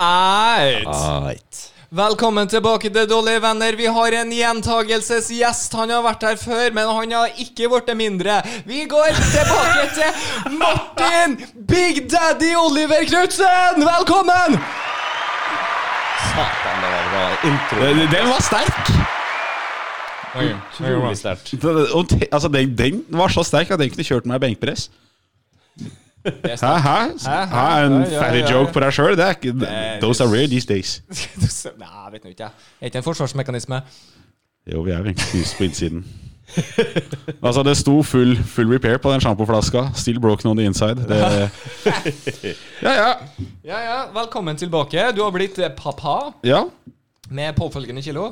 Eit. Right. Velkommen tilbake til Dårlige venner. Vi har en gjentagelsesgjest. Han har vært her før, men han har ikke blitt mindre. Vi går tilbake til Martin Big Daddy Oliver Knutsen! Velkommen! Satan, det var bra intro. Den, den var sterk! Utrolig sterkt. Den- og te- Altså, den, den var så sterk at den kunne kjørt meg i benkpress. Hæ, hæ? Hæ, En Ja, ja, fatty ja, ja. joke på deg sjøl? Those are rare these days. Nei, jeg vet nå ikke. jeg. Er ikke en forsvarsmekanisme. Jo, vi er jo egentlig knust på innsiden. Altså, det sto full, full repair på den sjampoflaska. Still broken on the inside. Det, ja, ja. Ja, ja. Velkommen tilbake. Du har blitt eh, pappa ja. med påfølgende kilo.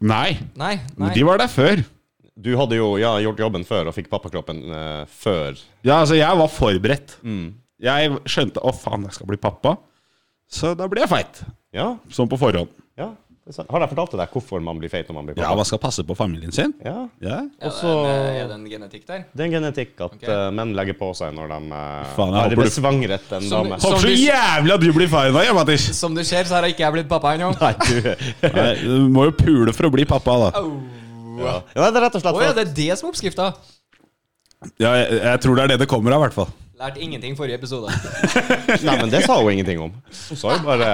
Nei, Nei. men nei. de var der før. Du hadde jo ja, gjort jobben før og fikk pappakroppen eh, før. Ja, altså, jeg var forberedt. Mm. Jeg skjønte å faen, jeg skal bli pappa. Så da blir jeg feit. Ja, Sånn på forhånd. ja. det er sant. Har jeg fortalt deg hvorfor man blir feit når man blir Ja, pappa? man skal passe på familien sin. Ja, Ja. og så eh, Er det en genetikk der? Det er en genetikk at Ok. eh, menn legger på seg når de eh, Faen, jeg har håper du- besvangret en Som- dame. som- Håper så du- jævlig at du blir far i dag, ja, Mattis. Som du ser, så har jeg ikke jeg blitt pappa ennå. Nei, du Nei, du må jo pule for å bli pappa, da. Au. ja. ja, Det er rett og slett Å ja, for at det er det som er oppskrifta. Ja, jeg, jeg tror det er det det kommer av, i hvert fall. Lært ingenting forrige episode. Nei, men det sa hun ingenting om. Hun sa jo bare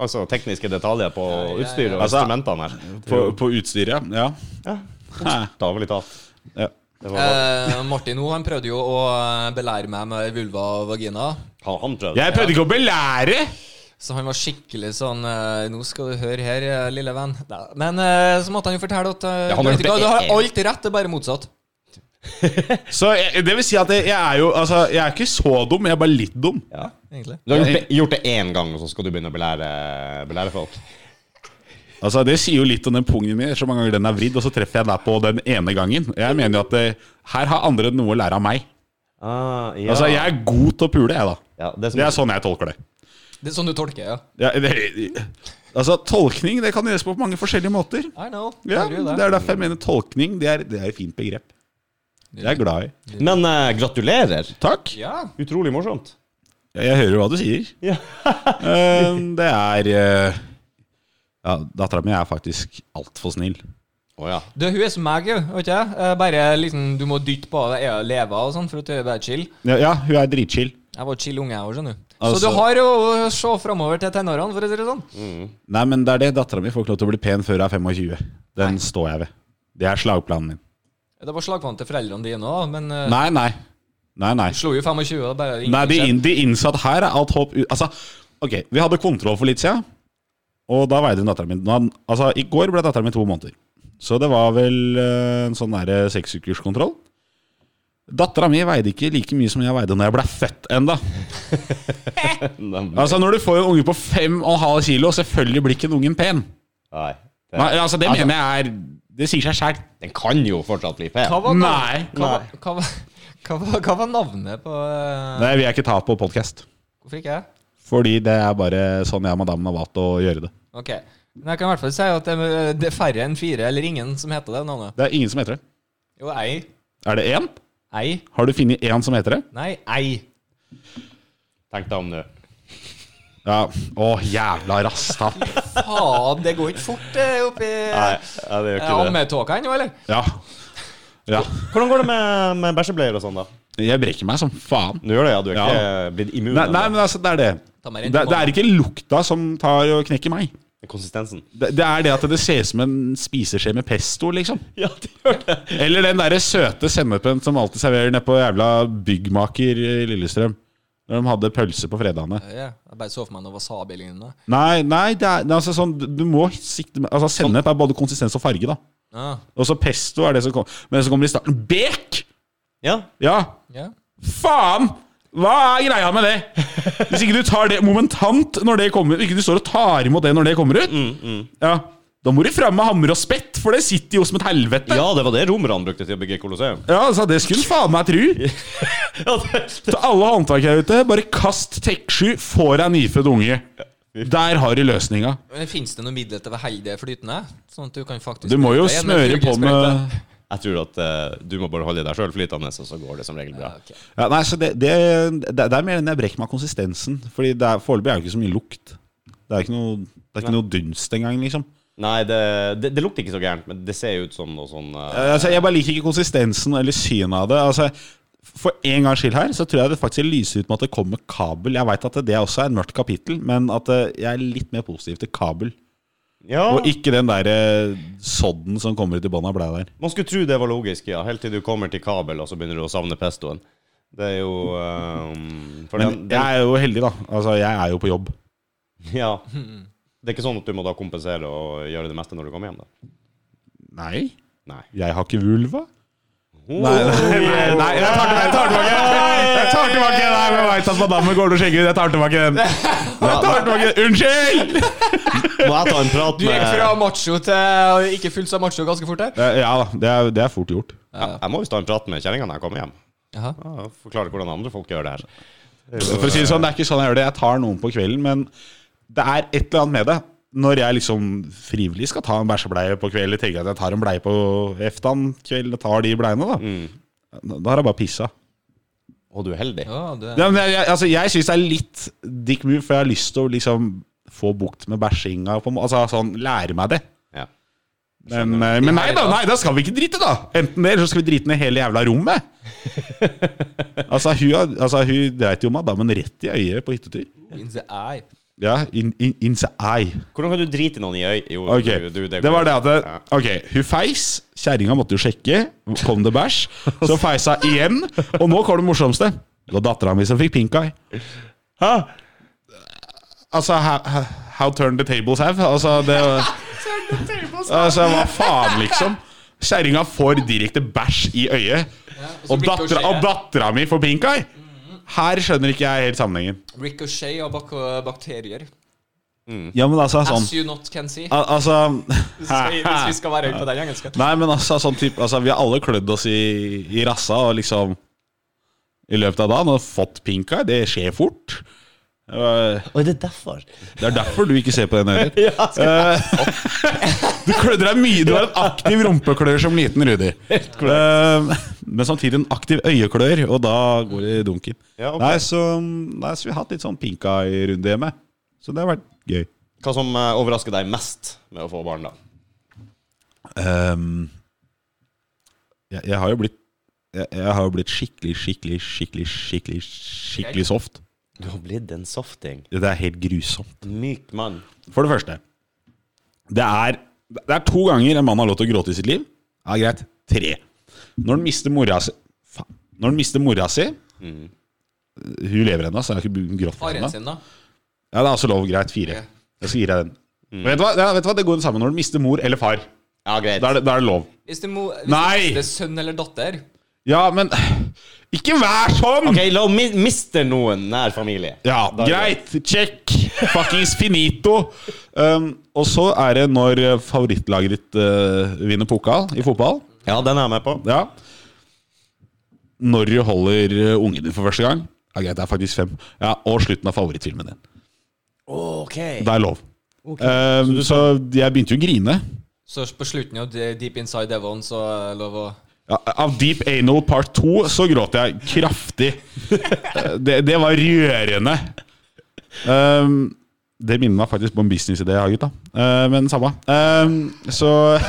altså, tekniske detaljer på ja, ja. utstyr og Altså, instrumentene her. På, på utstyret, ja. Ja, Hæ. Bokstavelig talt. ja. Det var, Eh, Martin nå, han prøvde jo å eh, belære meg med vulva og vagina. han, han prøvde. Jeg prøvde ikke å belære! Så han var skikkelig sånn eh, Nå skal du høre her, eh, lille venn. Nei, Men eh, så måtte han jo fortelle at eh, Ja, han har vet du, gjort hva, det du har en- alt rett, det er bare motsatt. Så jeg, det vil si at jeg, jeg er jo Altså, jeg er ikke så dum, jeg er bare litt dum. Ja. Egentlig. Du har gjort det, gjort det én gang, og så skal du begynne å belære, belære folk? Altså, Det sier jo litt om den pungen min, så mange ganger den er vridd, og så treffer jeg deg på den ene gangen. Jeg mener jo at eh, her har andre noe å lære av meg. Ah, ja. Altså, jeg er god til å pule, jeg, da. ja, det, som, Det er sånn jeg tolker det. Det er sånn du tolker, ja. Ja, det altså, tolkning det kan gjøres på mange forskjellige måter. I know. Ja, Hører jo det er derfor jeg mener tolkning. Det er, det er et fint begrep. Det er jeg glad i. Men eh, gratulerer! Takk. Ja. Utrolig morsomt. Jeg, jeg hører hva du sier. Ja. Eh, det er eh, ja, Dattera mi er faktisk altfor snill. Å ja. Du, hun er som meg, jo, vet ikke jeg. Eh, Bare liksom, du må dytte på det, jeg lever og sånn, for at du er bare chill. Ja, ja hun er dritchill. Jeg var chill unge, jeg òg, skjønner du. Altså- Så du har jo å se framover til tenårene, for å si det sånn. Nei, men det er det. Dattera mi får ikke lov til å bli pen før hun er 25. Den står jeg ved. Det er slagplanen min. Det var slagvann til foreldrene dine òg, men eh, Nei, nei. Nei, nei. slo jo 25, og bare Nei, de, skjedde. inn, de innsatt her er alt håp u- Altså, ok, vi hadde kontroll for litt siden, og da veide datteren min Nå han- Altså, i går ble datteren min to måneder. Så det var vel eh, en sånn derre seksukerskontroll. Dattera mi veide ikke like mye som jeg veide når jeg ble født enda Nei. Altså, når du får en unge på 5,5 kilo, selvfølgelig blir ikke den ungen pen. Det, Nei, altså, det mener jeg er Det sier seg sjæl. den kan jo fortsatt bli pen. Hva var, navn- Nei. Hva, var- Hva, var- hva, var- hva var navnet på eh, Det vil jeg ikke ta på podkast. Hvorfor ikke jeg? Fordi det er bare sånn jeg og madammen har valgt å gjøre det. Ok. Men jeg kan i hvert fall si at det, er- eh, det er færre enn fire eller ingen som heter det navnet. Det er ingen som heter det. Jo, ei. Er det én? Ei. Har du funnet én som heter det? Nei, ei. Tenk deg om nå. Ja. Å, jævla rasta. Faen, det går ikke fort eh, oppi Nei, ja, det gjør ikke det. Ammetåka ennå, eller? Ja. ja. Hvordan går det med, med bæsjebleier og sånn, da? Jeg brekker meg som faen. Du gjør det, ja? Du er ikke Ja. blitt immun? Nei, nei, eller? men altså, det er det. Ta meg rent Det, på det er ikke lukta som tar og knekker meg. Konsistensen? Det, det er det at det ser ut som en spiseskje med pesto, liksom. Ja, det gjør det. Eller den derre søte sennepen som alltid serverer nede på jævla Byggmaker i Lillestrøm. Når de hadde pølse på fredagene. Ja, jeg bare så for meg noe wasabi lignende. Nei, nei, det er, det er altså sånn Du du må sikte med Altså, sennep er både konsistens og farge, da. Ja. Og så pesto er det som kommer. Men det som kommer i starten Bek! Ja, Ja, ja. Faen! Hva er greia med det? Hvis ikke du tar det momentant når det kommer Hvis ikke du står og tar imot det når det kommer ut, Ja, da må du fram med hammer og spett, for det sitter jo som et helvete. Ja, det var det romerne brukte til å bygge Colosseum. Ja, altså, Det skulle du faen meg tru. Ja, det- Til alle håndverkere her ute, bare kast TEK7, få deg nyfødt unge. Der har du løsninga. Men Fins det noe middel til å helle det flytende? Sånn at du kan faktisk Du må jo bruke det igjen med smøre på sugesprøyte. med Jeg tror at eh, du må bare holde deg sjøl flytende, så går det som regel bra. Ok. ja, Nei, så det, det, det, det er mer enn jeg brekker meg av konsistensen. Fordi det er- foreløpig er det jo ikke så mye lukt. Det er ikke noe, det er ikke noe dunst engang, liksom. Nei, det, det, det lukter ikke så gærent, men det ser ut som noe sånn eh, Eh, Altså, jeg bare liker ikke konsistensen eller synet av det. Altså, for en gangs skyld her, så tror jeg det faktisk lyser ut med at det kommer kabel. Jeg veit at det også er et mørkt kapittel, men at eh, jeg er litt mer positiv til kabel. Ja, Og ikke den der eh, sodden som kommer ut i bånn av blæ der. man skulle tro det var logisk, ja. Helt til du kommer til kabel, og så begynner du å savne pestoen. Det er jo eh, for Men den, den, jeg er jo heldig, da. Altså, jeg er jo på jobb. Ja. Det er ikke sånn at du må da kompensere og gjøre det meste når du kommer hjem, da. Nei. Nei. Oh. Jeg har ikke vulva. Nei, nei, nei, jeg tar tilbake jeg tar tilbake- Jeg tar tilbake Nei, men jeg veit at madammen går til å skjenke ut. Jeg tar tilbake den. Jeg tar tilbake den. Unnskyld! Må jeg ta en prat Du gikk med fra macho til ikke fullt så macho ganske fort der. Eh, Ja da, det er, det er fort gjort. Jeg, jeg må visst ta en prat med kjerringa når jeg kommer hjem. Jaha. Ja, Forklare hvordan andre folk gjør det her. For å si det sånn, det er ikke sånn jeg gjør det. Jeg tar noen på kvelden, men det er et eller annet med det. Når jeg liksom frivillig skal ta en bæsjebleie på kvelden, tenker jeg at jeg tar en bleie på eftan kveld og tar de bleiene, da. Da har jeg bare pissa. Å, du er heldig. Ja, du er Ja, men jeg jeg, altså, jeg syns det er litt dick move, for jeg har lyst til å liksom få bukt med bæsjinga. på en må- Altså sånn, lære meg det. Ja. Men, eh, men nei da, nei, da skal vi ikke drite, da! Enten det, eller så skal vi drite ned hele jævla rommet. altså, hun, har- altså, hun dreit jo madammen rett i øyet på hyttetur. in the eye. Ja, in, in, in the eye. Hvordan kan du drite noen i øy? Jo, Ok, du- du- det var det at det, Ja. Ok, hun feis Kjæringa måtte jo sjekke Kom det bæsj Så feisa igjen Og nå kom det morsomste Det var datteren min som fikk pink eye Hæ? Altså, how, how- how turn the tables have Altså, det Altså, hva faen liksom Kjæringa får direkte bæsj i øyet så Og blir det å datteren, skje. og datteren min får pink eye Her skjønner ikke jeg helt sammenhengen Ricochet av bak bakterier. Ja, men altså, As you not can see. Al altså Hvis vi skal- hvis vi skal være høye på den engelske. Nei, men altså, sånn typ, altså Vi har alle klødd oss i, i rassa og liksom I løpet av dagen og fått pink eye. Det skjer fort. Eh, Oi, det er derfor. Det er derfor du ikke ser på den heller. Eh, Du klødde deg mye. Du var en aktiv rumpeklør som liten, Rudi. Eh, Men samtidig en aktiv øyeklør, og da går det i dunken. Ja, ok. nei, så, nei, så vi har hatt litt sånn pink eye-runde hjemme. Så det har vært gøy. Hva som eh, overrasker deg mest med å få barn, da? Ehm, jeg, jeg har jo blitt jeg, jeg har jo blitt skikkelig, skikkelig, skikkelig, skikkelig skikkelig soft. Du har blitt en softing. Det er helt grusomt. Myk mann. For det første. Det er, det er to ganger en mann har lov til å gråte i sitt liv. Ja, greit. Tre. Når han mister mora si Faen. Når han mister mora si Hun lever ennå, så jeg har ikke begynt å gråte for Faren henne. Mm. sin, da. Ja, det er også lov. Greit. Fire. Ok. Jeg skal gi deg den. Mm. Vet, du hva? Ja, vet du hva? Det går det samme når du mister mor eller far. Ja, greit. Da er det, da er det lov. Hvis du må hvis Nei! Det er sønn eller datter. Ja, men Ikke vær sånn! Ok, la mi miste noen nær familie. Ja, Da er det greit. Check. Fuckings finito. Um, og så er det når favorittlaget ditt eh, vinner pokal i fotball. Ja, den er jeg med på. Ja. Når du holder eh, ungen din for første gang. Ja, greit, det er faktisk fem. Ja, Og slutten av favorittfilmen din. Ok. Det er lov. Um, så jeg begynte jo å grine. Så på slutten av De- Deep Inside Devon, så er det lov å Ja, av Deep Anal Part 2 så gråt jeg kraftig. det, det var rørende. Ehm, det minner meg faktisk på en businessidé jeg har, gutta. Eh, men samme. Ehm, så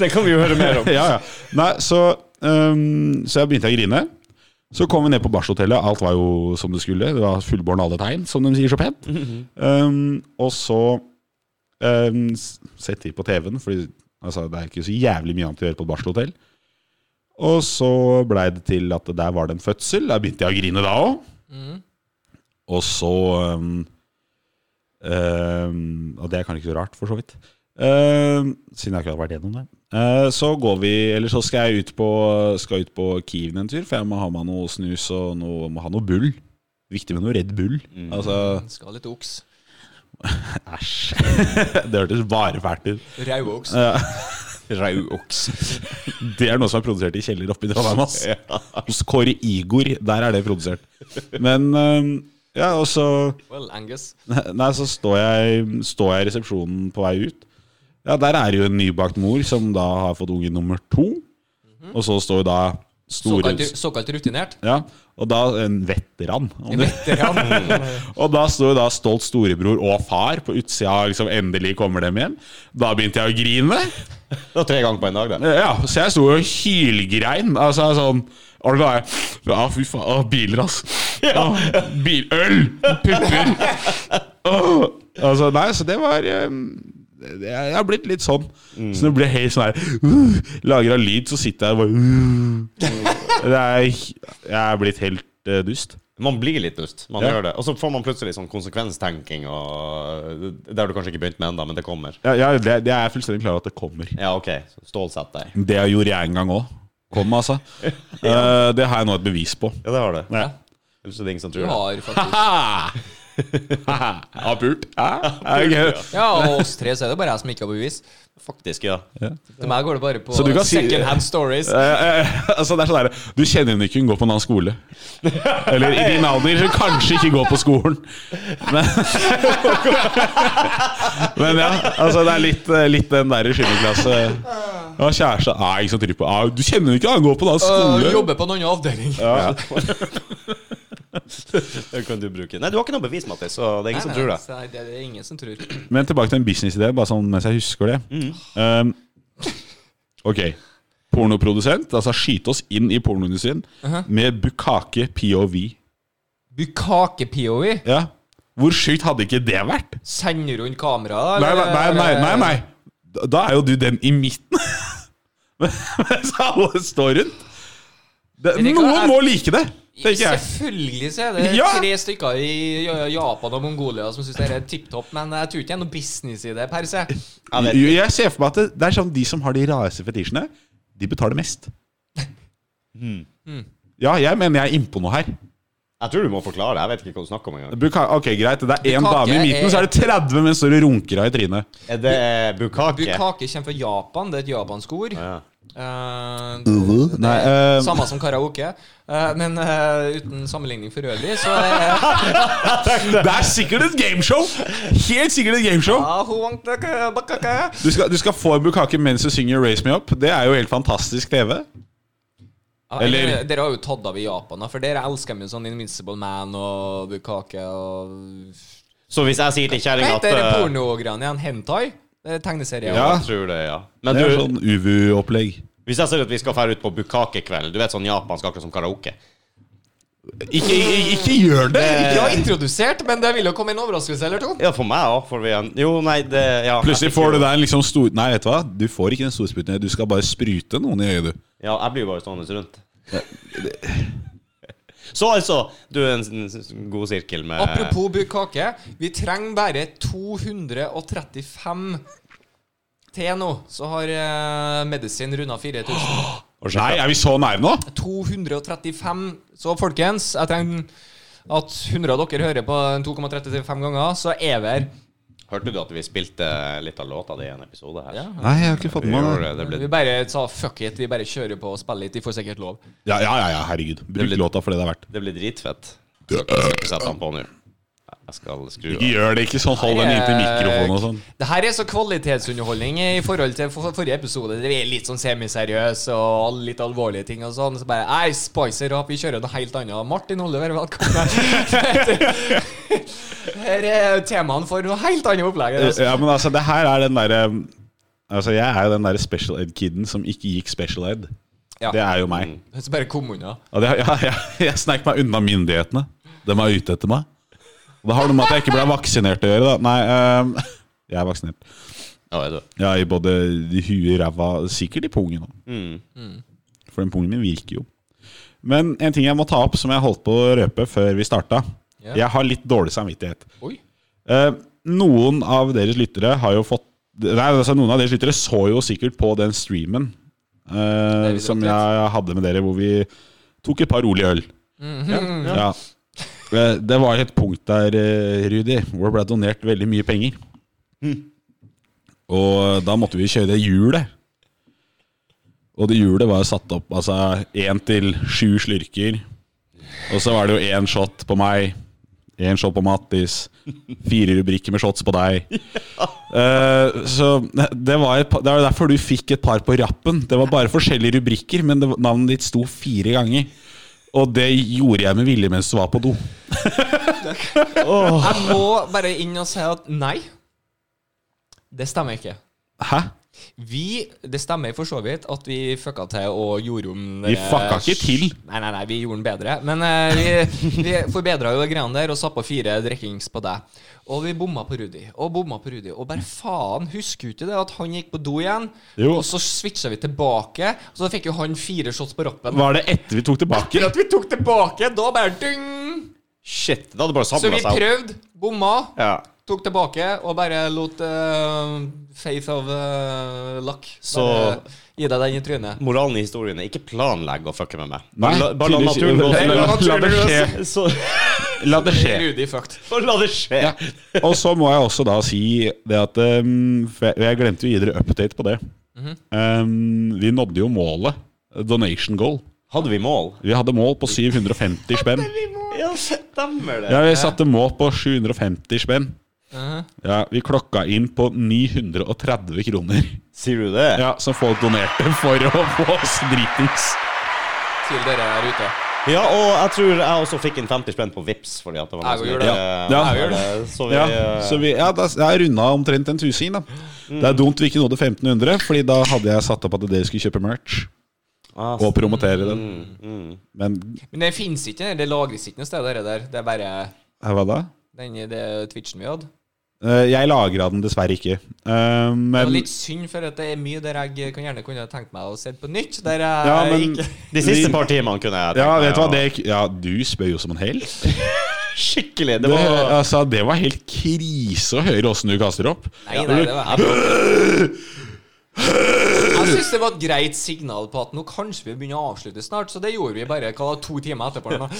Det kan vi jo høre mer om. Ja, ja. Nei, så, ehm, så jeg begynte å grine. Så kom vi ned på barselhotellet. Alt var jo som det skulle. Det var fullbåren alle tegn, som de sier så pent. Ehm, og så ehm, s- setter vi på TV-en, for altså, det er ikke så jævlig mye annet å gjøre på et barselhotell. Og så blei det til at der var det en fødsel. Der begynte jeg å grine da òg. Og så ehm, um, ehm, Og det er kanskje ikke så rart, for så vidt. Ehm, Um, siden jeg ikke har vært gjennom det. Eh, Så går vi, eller så skal jeg ut på, skal ut på Kiev en tur, for jeg må ha meg noe snus og noe, må ha noe bull. Viktig med noe Red Bull. Altså, Skal litt oks. æsj. Det hørtes bare fælt ut. Rauoks. Rauoks. Det er noe som er produsert i kjeller oppe i Trondheim. ass. Hos Kåre Igor. Der er det produsert. Men øhm, ja, og så Well, Angus. Nei, så står jeg, står jeg i resepsjonen på vei ut. Ja, der er det jo en nybakt mor som da har fått unge nummer to. Og så står jo da store Såkalt, såkalt rutinert. Ja, og da en veteran. Om du, Veteran. og da sto jo da stolt storebror og far på utsida, liksom endelig kommer dem hjem. Da begynte jeg å grine. Det var tre ganger på en dag, det. Eh, Ja, så jeg sto jo og hylgrein. Altså sånn og da er jeg, Ja, fy faen. Å, biler, ass. Ja. Bil, øl! Pupper! Åh, altså, nei, så det var eh, det- Jeg har blitt litt sånn. Så når det blir helt sånn her uh, Lager av lyd, så sitter jeg og bare uh. det er, Jeg er blitt helt eh, dust. Man blir litt dust. Man Ja. gjør det. Og så får man plutselig sånn konsekvenstenking og Det har du kanskje ikke begynt med ennå, men det kommer. Ja, ja, det, det er jeg fullstendig klar over at det kommer. Ja, OK. så Stålsett deg. Det gjorde jeg en gang òg. Kom, altså. Eh, det har jeg nå et bevis på. Ja, det har du. Ja. Ellers er det ingen som Du tror det. har faktisk Ha! Har pult. Ja, og oss tre så er det bare jeg som ikke har bevis. Faktisk, ja. Til meg går det bare på Så du kan si- second hand stories. Altså, det er sånn der, Du kjenner henne ikke, hun går på en annen skole. Eller i din alder, så kanskje ikke går på skolen. Men, men ja, altså det er litt, eh, litt den der skytterklasse Ja, kjæreste Nei, ikke sånn type. Ah, du kjenner henne ikke, han går på en annen Øh, skole. jobber på en annen avdeling. Det kan du bruke. Nei, du har ikke noe bevis, Mattis, så det er ingen som tror det. Så det er det er ingen som tror. Men tilbake til en businessidé, bare sånn mens jeg husker det. Mm. Um, ok. Pornoprodusent, altså skyte oss inn i pornoindustrien Uh-huh. med Bukake POV. Bukake-POV? Ja. Hvor sjukt hadde ikke det vært? Sender rundt kameraet? Nei, nei, nei. nei, nei, nei. Da- Da er jo du den i midten. Mens alle står rundt. Det, Men det kan noen være- må like det, tenker jeg. Selvfølgelig så er det Ja! tre stykker i Ja- Japan og Mongolia som syns det er tipp topp, men jeg tror ikke det er noe business i det, per se. Ja, det- Jo, Jeg ser for meg at det, det er sånn de som har de rareste fetisjene, de betaler mest. Hmm. Ja, jeg mener jeg er innpå noe her. Jeg tror du må forklare. Jeg vet ikke hva du snakker om engang. Buka ok, greit, det er én Bukake dame i midten, er- så er det 30 menn står og runker av i trynet. Er det bukake? Bukake kommer fra Japan, det er et japansk ord. Ja. Eh, Nei, eh, samme som karaoke, Eh, men eh, uten sammenligning for øvrig, så eh, er det er sikkert et gameshow! Helt sikkert et gameshow. Ah, who want the k- bukake? Du skal, du skal få en bukake mens du synger 'Raise Me Up'. Det er jo helt fantastisk TV. Ja, Eller- eller, dere har jo tatt av i Japan, da, for dere elsker jo sånn Invincible Man og Bukake og Så hvis jeg sier til Hva kjerringa at heter det eh, pornogreiene igjen? Hentai? Det er tegneserie. Ja, Ja. jeg tror det, ja. Men Det du, er sånn UVU-opplegg. hvis jeg sier at vi skal dra ut på bukakekveld Du vet sånn japansk, akkurat som karaoke. Ikke, ikke, ikke gjør det! Ikke Ikke- har introdusert, men det vil jo komme en overraskelse eller to. Ja, for meg òg, får vi en Jo, nei, det ja, Plutselig jeg fikk får du jo- der liksom stor... Nei, vet du hva? Du får ikke den storspruten. Du skal bare sprute noen i øyet, du. Ja, jeg blir jo bare stående rundt. Så altså, du er en s- s- god sirkel med Apropos bukake, vi trenger bare 235 til nå, så har eh, medisin runda 4000. Nei, er vi så nære nå? 235. Så folkens, jeg trenger at 100 av dere hører på en 2,35 ganger, så er vi her. Hørte du at vi spilte litt av låta di i en episode her? Ja. Nei, jeg har ikke fått Vi med meg det. gjorde det. Det Vi ble, bare sa fuck it, vi bare kjører på og spiller litt. De får sikkert lov. Ja, ja, ja, ja, herregud. Bruk låta for det det er verdt. det ble dritfett. Jeg skal ikke sette den på nå. Jeg skal skru Ikke gjør det. Ikke sånn hold den inntil mikrofonen og sånn. Det her er så kvalitetsunderholdning i forhold til for, forrige episode. Det er litt sånn semiseriøs og litt alvorlige ting og sånn. Så bare Nei, spicer opp, vi kjører noe helt annet. Martin Oliver, velkommen. her er temaene for noe helt annet opplegg. Altså. Ja, men altså, det her er den derre Altså, jeg er jo den derre special ed-kiden som ikke gikk special ed. Ja. Det er jo meg. Så bare kom unna. Ja, det, ja, ja, jeg snek meg unna myndighetene. De er ute etter meg. Og det har noe med at jeg ikke ble vaksinert å gjøre. da Nei, ehm, jeg er vaksinert. Ja, er du? Jeg er i både huet, ræva Sikkert i pungen. da. For den pungen min virker jo. Men en ting jeg må ta opp, som jeg holdt på å røpe før vi starta. Ja. Jeg har litt dårlig samvittighet. Oi. Eh, noen av deres lyttere har jo fått det- Nei, altså Noen av dere lyttere så jo sikkert på den streamen eh, Det vi som drakk jeg hadde med dere, hvor vi tok et par rolige øl. ja. Ja. Eh, Det var et punkt der, eh, Rudi, hvor det ble donert veldig mye penger. Og da måtte vi kjøre hjulet. Og det hjulet var satt opp altså én til sju slurker. Og så var det jo én shot på meg, én shot på Mattis, fire rubrikker med shots på deg. Eh, så det var, et, pa- det var derfor du fikk et par på rappen. Det var bare forskjellige rubrikker, men det, var- navnet ditt sto fire ganger. Og det gjorde jeg med vilje mens du var på do. Jeg må bare inn og si at nei, det stemmer ikke. Hæ? Vi, Det stemmer for så vidt at vi fucka til og gjorde om Vi det- fucka ikke til. Nei, nei, nei, vi gjorde den bedre. Men eh, vi, vi forbedra jo de greiene der og satt på fire drikkings på deg. Og vi bomma på Rudi og bomma på Rudi. Og bare faen, husker du ikke det at han gikk på do igjen? Jo. Og så switcha vi tilbake, og så fikk jo han fire shots på rappen. Var det etter vi tok tilbake? Etter at vi tok tilbake, da bare dyng! Shit, det hadde bare Så samla vi seg opp. prøvde, bomma. Ja. Tok tilbake og bare lot eh, faith of eh, luck Så- bare gi deg den i trynet. Moralen i historien er ikke planlegg å fucke med meg. Nei, Bare la- bare la tydeligvis ikke. naturen gå Nei, sin la- la det gang. Så- La det skje. Rudi fucked. Bare la det skje. Ja. Og så må jeg også da si det at um, For jeg, jeg glemte å gi dere update på det. um, vi nådde jo målet. Donation goal. Hadde vi mål? Vi hadde mål på 750 spenn. Ja, stemmer det. Ja, vi satte mål på 750 spenn. Ja, Vi klokka inn på 930 kroner Sier du det? Ja, som folk donerte for å få oss dritings. Til dere der ute. Ja, og jeg tror jeg også fikk en 50 spenn på Vips fordi at det var Jeg noe som gjorde ikke- det. Ja. Jeg Ja. gjorde det. Så vi, Ja, eh, Mm. så vi, ja, da, jeg runda omtrent en tusing. da Det er dumt vi ikke nådde 1500, Fordi da hadde jeg satt opp at dere skulle kjøpe merch ah, og promotere den. mm. Men Men det fins ikke, det lagres ikke noe sted, det der. Det er bare eh, hva da? den i det Twitchen vi hadde. Eh, Jeg lagra den dessverre ikke. Eh, Det var Men litt synd, for at det er mye der jeg kan gjerne kunne tenkt meg å se på nytt. Der jeg Ja, men ikke De siste par timene kunne jeg tenkt ja, meg vet du hva, å- det, ja, du spør jo som en helt. Skikkelig! Det Det, var altså, det var helt krise å høre åssen du kaster opp. Nei, nei, det var Jeg syns det var et greit signal på at nå kanskje vi begynner å avslutte snart, så det gjorde vi bare hva, to timer etterpå. eller noe.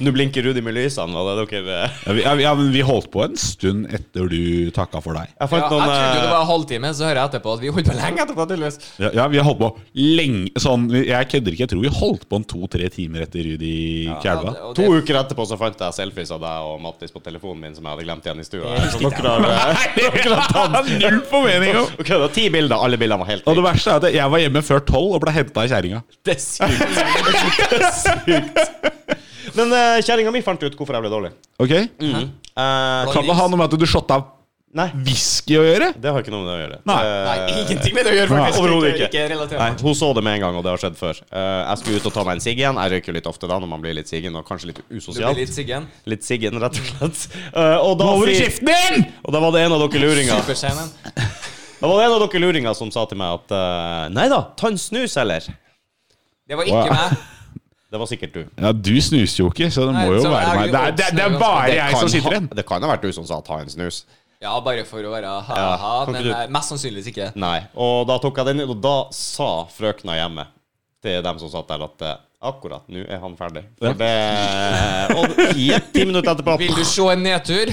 Nå blinker Rudi med lysene, var det dere eh? Ja, vi, ja, vi- ja, men vi holdt på en stund etter du takka for deg. Jeg Ja, fant jeg noen trodde jo det eh, var en halvtime, så hører jeg etterpå at vi holdt på lenge etterpå, tydeligvis. Ja, ja vi har holdt på lenge sånn, vi- Jeg kødder ikke, jeg tror vi holdt på en to-tre timer etter Rudi Kjelva. Ja, og det- To uker etterpå så fant jeg selfies av deg og Mattis på telefonen min som jeg hadde glemt igjen i stua. Så husker dere har Null formening om! Ok, det var ti bilder, alle bildene var helt Og det verste er at jeg var hjemme før tolv og ble henta av kjerringa. Det er sykt. like. Men uh, kjerringa mi fant ut hvorfor jeg ble dårlig. Ok? Eh, Kan det ha noe med at du shotta nei, whisky å gjøre? det har ikke noe med det å gjøre. Nei. Eh, Nei, ingenting med det å gjøre, faktisk. Overhodet ikke. ikke relatert. Nei, hun så det med en gang, og det har skjedd før. Eh, jeg skulle ut og ta meg en sigg igjen. Jeg røyker jo litt ofte da når man blir litt siggen, og kanskje Du litt blir usosial. litt siggen. Litt siggen, rett og slett. Eh, og, da Over i sier- kjeften din! og da var det en av dere luringer Superstjernen. Da var det en av dere luringer som sa til meg at eh, Nei da, ta en snus, eller? Det var Wow. ikke meg. Det var sikkert du. Ja, du snuser jo ikke, så det Nei, må jo så være er meg. du Det er, det, er- det er oppsnøret, bare det jeg Kan som ha- sitter igjen. Det kan ha vært du som sa 'ta en snus'. Ja, bare for å være Ja, ha-ha, kan men ikke du- eh, mest sannsynligvis ikke. Nei. Og da tok jeg den ut, og da sa frøkna hjemme til dem som satt der, at eh, akkurat nå er han ferdig. For det, og jepp, ti minutter etterpå Vil du se en nedtur?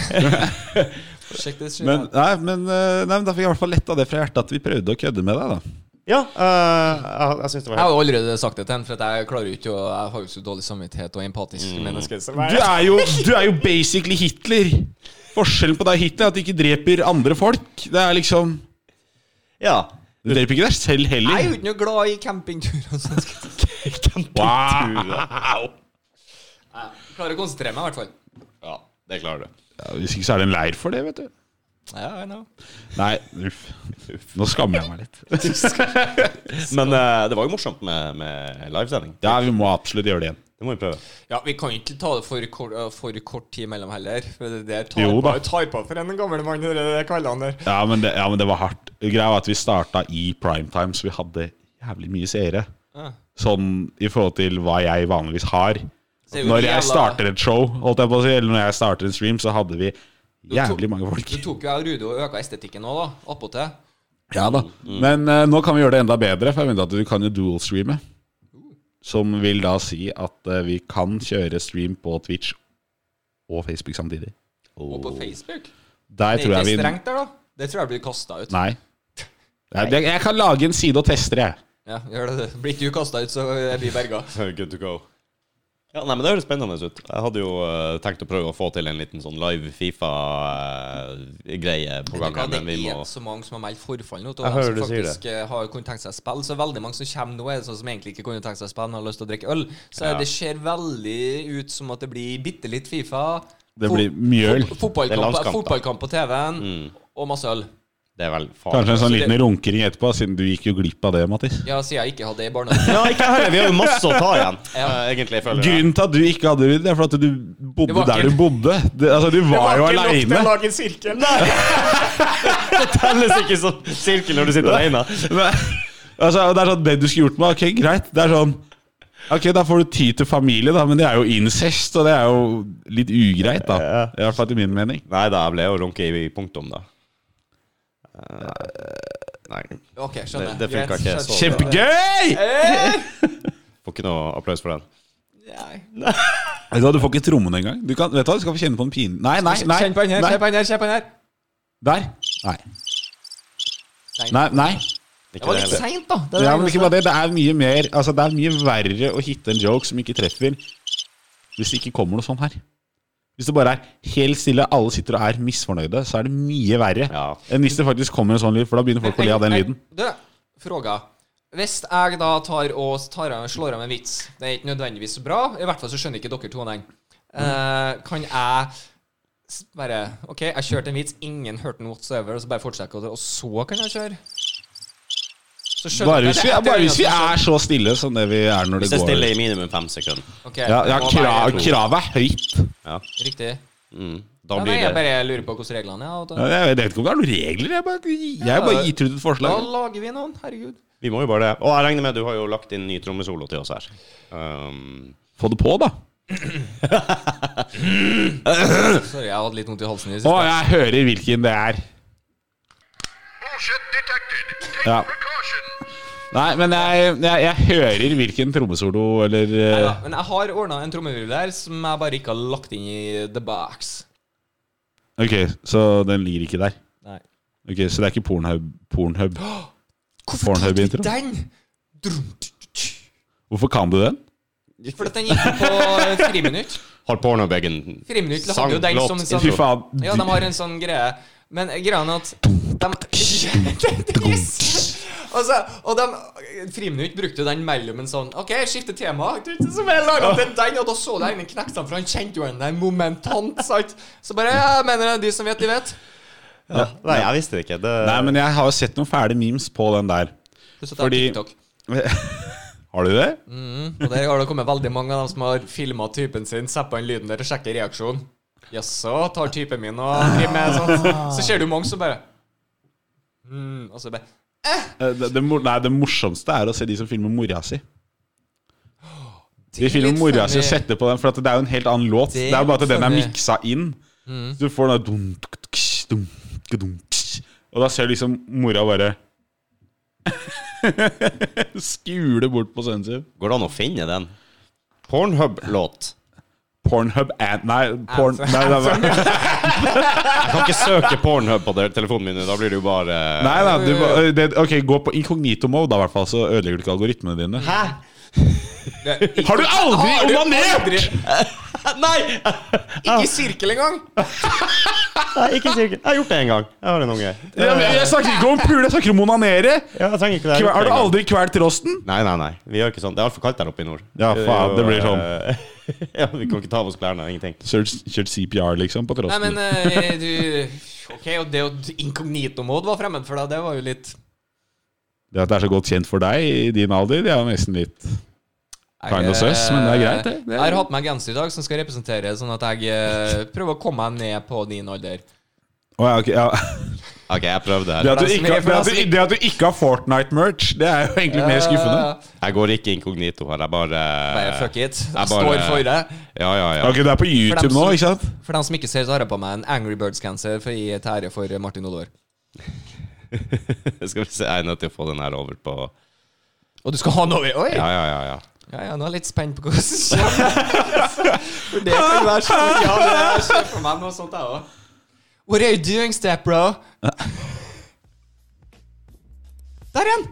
Sjekk det shit Men, out. nei, men, eh, nei, men da fikk jeg i hvert fall letta det fra hjertet at vi prøvde å kødde med deg, da. Ja, eh, jeg, jeg syns det var Jeg helt har jo allerede sagt det til ham, for at jeg klarer jo ikke å Jeg har jo så dårlig samvittighet og empatisk Mm. menneske. Så Du er jo, du er jo basically Hitler. Forskjellen på deg og Hitler er at du ikke dreper andre folk. Det er liksom Ja. Du dreper ikke deg selv jeg er jo heller. ikke noe glad i campingturer. og sånn. Wow. Jeg Klarer å konsentrere meg, i hvert fall. ja. Det klarer du. Ja, hvis ikke så er det en leir for det, vet du. Ja, I know. Nei, uff. Nå skammer jeg meg litt. Men eh, det var jo morsomt med, med livesending. Ja, vi må absolutt gjøre det igjen. Det må vi prøve. Ja, vi kan ikke ta det for kort, for kort tid mellom heller. For det der tar, Jo da. på, tar på for en gammel mann i de kveldene der. Ja, men det, ja, men det var hardt. Greia var at vi starta i primetime, så vi hadde jævlig mye seere. Sånn i forhold til hva jeg vanligvis har. er jo Når jeg jævla- starter et show, holdt jeg på å si, eller når jeg starter en stream, så hadde vi tok- jævlig mange folk. Du tok jo jeg og Rudi og øka estetikken òg, da. Appåtil. Ja da. Men eh, nå kan vi gjøre det enda bedre, for jeg mente at vi kan jo dual-streame. Som vil da si at eh, vi kan kjøre stream på Twitch og Facebook samtidig. Og på Facebook? Der Det er Oh. tror jeg ikke vi strengt der, da? Det tror jeg blir kasta ut. Nei. Jeg, jeg- jeg kan lage en side og teste det, jeg. Ja, gjør det. Blir ikke du kasta ut, så er vi berga. Good to go. Ja, nei, men Det høres spennende ut. Jeg hadde jo eh, tenkt å prøve å få til en liten sånn live Fifa-greie på Det gang. her, Men vi er må så mange som har meldt forfall nå. Og Jeg dem hører som du sier faktisk eh, har kunnet tenkt seg spill. Så veldig mange som kommer nå, er sånn som egentlig ikke kunne tenkt seg spill, men har lyst til å drikke øl. Så Ja. det ser veldig ut som at det blir bitte litt Fifa. Det fo- blir mjøl. fo- Det er Fotballkamp, landskamp, da. Mm. fotballkamp på TV-en, og masse øl. Det er vel Kanskje en farlig. sånn altså, liten runkering etterpå, siden du gikk jo glipp av det, Mattis. Ja, siden jeg ikke hadde det i barnehagen. Ja, ikke jeg heller. Vi har jo masse å ta igjen, Ja. eh, egentlig. jeg føler jeg. Grunnen til at du ikke hadde det, det er for at du Det bodde var der ikke- du bodde. Det, altså, du var, jo aleine. lage en sirkel. Nei! det telles ikke som sirkel når du sitter alene. altså, det er sånn, det du skulle gjort med Ok, greit. Det er sånn Ok, da får du tid til familie, da, men det er jo incest, og det er jo litt ugreit, da. I hvert fall etter min mening. Nei da, jeg ble jo runket i punktum, da. Eh, nei. Ok, skjønner. Det- det funka Greit, ikke skjønner. så Kjempegøy! Får ikke noe applaus for den. Nei. Vet du hva, du får ikke trommene engang. Du kan, vet du hva, du skal få kjenne på en pin... Nei, nei, nei. Kjenn på den her, nei. kjenn på den her, kjenn på den her. Der. Nei. Nei. Nei, nei. Det var litt seint, da. Det er det Ja, men eneste. ikke bare det. Det er mye mer Altså, det er mye verre å hitte en joke som ikke treffer, hvis det ikke kommer noe sånn her. Hvis det bare er helt stille, alle sitter og er misfornøyde, så er det mye verre Ja. enn hvis det Eh, faktisk kommer en sånn lyd, for da begynner folk å le av den lyden. Du, fråga. Hvis jeg da tar og tar av, slår av en vits, det er ikke nødvendigvis så bra, i hvert fall så skjønner ikke dere to den. Mm. Eh, kan jeg s- bare OK, jeg kjørte en vits, ingen hørte den whatsoever, og så bare fortsetter jeg, og så kan jeg kjøre? Så skjønner Bare dere hvis det sånn. vi, etter bare hvis vi øynene, er så stille som det vi er når det Hvis jeg går stiller i minimum fem sekunder. så- Ok, Ja, ja det må kra- være- kravet er høyt. Ja. Riktig. Mm. Da Ja, nei, blir jeg det bare lurer på hvordan reglene er. og Ja, Da, Jeg vet ikke om det er noen regler. Jeg bare, jeg bare gitt ut et da forslag. lager vi noen, herregud. Vi må jo bare det. Og jeg regner med du har jo lagt inn ny trommesolo til oss her. Um, Få det på, da. Sorry, jeg hadde litt vondt i halsen i det Å, siste. jeg hører hvilken det er. Bullshit detected. Take Ja. precautions. Nei, men jeg, jeg, jeg hører hvilken trommesolo eller eh, Neida, men jeg har ordna en trommevirvel der som jeg bare ikke har lagt inn i the box. Ok, så den ligger ikke der. Nei. Ok, Så det er ikke Pornhub? Pornhub. Hvorfor tok du Pornhub-intro? ikke den? Drum, t- t- t- Hvorfor kan du den? For at den gikk jo på friminutt. har pornobaggen Friminutt Sang, hadde jo den låt, som en Fy sånn faen. Ja, de har en sånn greie. Men greia er at de yes! Altså, og de Friminutt brukte jo den mellom en sånn OK, skifte tema. Som jeg laget til den, og da så du øynene knekte sammen, for han kjente jo den der momentant. Sant? Så bare Jeg mener det, de som vet, de vet. ja. Nei, jeg visste det ikke. Det... Nei, men jeg har jo sett noen fæle memes på den der. Pluss at jeg har Fordi- TikTok. Har du det? Og der har det kommet veldig mange av dem som har filma typen sin, zappa inn lyden der og sjekker reaksjonen. Jaså, tar typen min og driver med sånn. Så ser du mange som bare mm, Og så bare Eh, Det, det, mor- nei, det morsomste er å se de som filmer mora si. De filmer litt mora si og funny. setter på den, for at det er jo en helt annen låt. Det Det er er jo bare at litt den er funny. Mm. miksa inn. Så du får den der dum, tuk, tuk, sh, dum, tuk, dum, sh. Og da ser liksom mora bare Skule bort på sønnen sin. Går det an å finne den? Pornhub-låt. Pornhub and Nei, porn, Anthem. nei, nei, nei, Jeg kan ikke søke pornhub på der- telefonen min, da blir det jo bare nei, nei du, må- det, Ok, gå på incognito mode, da, i hvert fall, så ødelegger du ikke algoritmene dine. Hæ? Det- Har du aldri Har du onanert?! aldri- Nei! Ikke i sirkel engang! Nei, ikke sikkert. Jeg har gjort det en gang. Jeg har en unge. Ja, men Jeg snakker ikke om pule, jeg snakker om onanere! Ja, jeg trenger ikke det. Jeg Kve- gjort Har det du en gang. aldri kvalt rosten? Nei, nei, nei. Vi gjør ikke sånn. Det er altfor kaldt der oppe i nord. Ja, faen, det blir sånn. sånn. ja, vi kan ikke ta av oss klærne. Ingenting. Kjørt, kjørt CPR, liksom, på Nei, trossen. men eh, du OK, og det å inkognito-mode var fremmed for deg, det var jo litt Det at det er så godt kjent for deg i din alder, det er jo nesten litt Kind of sus, men det er greit, det. Det er- Jeg har hatt meg genser i dag som skal representere, sånn at jeg eh, prøver å komme meg ned på din alder. Å ja, ok, ja. OK, jeg prøvde Det, her. at du ikke, det, at du, det at du ikke har Fortnite-merch, det er jo egentlig mer skuffende. Eh, Jeg går ikke inkognito her. Jeg bare Bare fuck Eh, it. Jeg bare- står for det. Ja, ja, ja. Ok, det er på YouTube nå, ikke sant? For dem som ikke ser, så har jeg på meg en Angry Birds-genser for å gi et ære for Martin Olvar. Skal vi se, jeg er nødt til å få den her over på Og du skal ha noe Oi! Ja, ja, ja. ja. Ja, ja, nå er jeg litt spent på hvordan det kommer. For det kan være så Ja, det er så for meg noe sånt, jeg òg. What are you doing, step bro? Der igjen!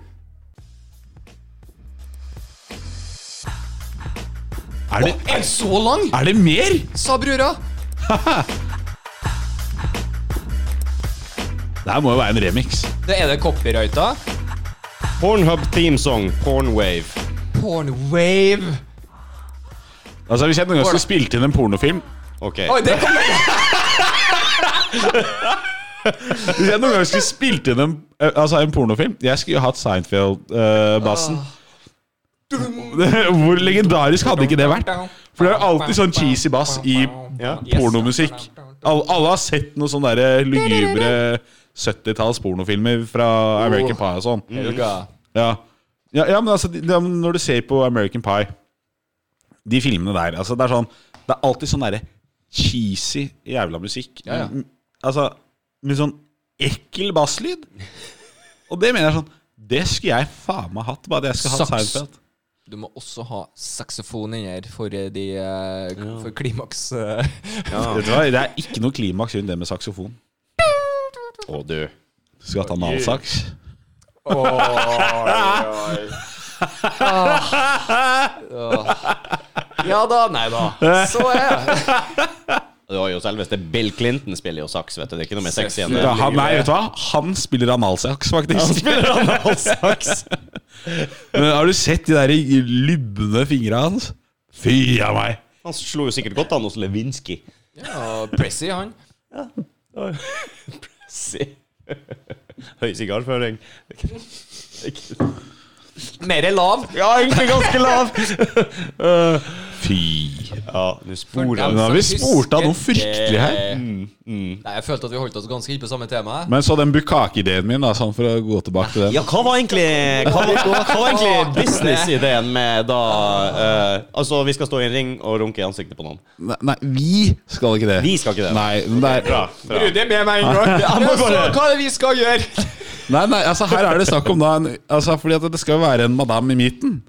Er det, Er den så lang? er det mer? Sa brura. Det her må jo være en remix. Det er det copyrighta. Pornhub themesong, Pornwave. Pornwave. Altså, Hvis jeg noen gang skulle spilt inn en pornofilm Ok. Oi, det kommer Hvis jeg noen gang skulle spilt inn en, eh, altså en pornofilm Jeg skulle jo hatt Seinfeld-bassen. Hvor legendarisk hadde ikke det vært? For det er alltid sånn cheesy bass i Ja. pornomusikk. Alle, alle har sett noen sånne der lugubre 70-talls pornofilmer fra American Pie og sånn. Helga. Ja. Ja, ja, men altså, de- de- når du ser på American Pie, de filmene der altså, Det er sånn Det er alltid sånn derre cheesy jævla musikk. Ja, ja. Mm, Altså med sånn ekkel basslyd. Og det mener jeg sånn Det skulle jeg faen meg hatt, bare at jeg skulle hatt Saks. Seinfeld. Du må også ha saksofon inni her for eh, de eh, For klimaks. eh. Vet du hva? Det er ikke noe klimaks rundt det med saksofon. Å, du. Skulle hatt analsaks. Ja da, nei da. Så er det. Det var jo selveste Bill Clinton spiller jo saks, vet du. Det er ikke noe mer sexy enn det. Ja, han, nei, vet du hva? Han spiller analsaks, faktisk. Han spiller analsaks. Men har du sett de der lubne fingra hans? Fy a meg. Han slo jo sikkert godt an hos Lewinsky. Ja, Pressy, han. Se. Høy sigarføring. Mer lav. Ja, egentlig ganske lav. Fy. Ja, nå sporer For Nå han. dem- har vi sport av noe fryktelig her. Mm. Nei, jeg følte at vi holdt oss ganske inne på samme tema. Men så den bukake-ideen min, da, sånn for å gå tilbake til den. Ja, hva var egentlig, hva var, hva var egentlig businessideen med da eh, Altså, vi skal stå i en ring og runke i ansiktet på noen. Nei, nei, vi skal ikke det. Vi skal ikke det. Nei, men det er, Bra. bra. det med meg en gang. hva er det vi skal gjøre? nei, nei altså her er det snakk om da en, altså, Fordi at det skal jo være en madame i midten.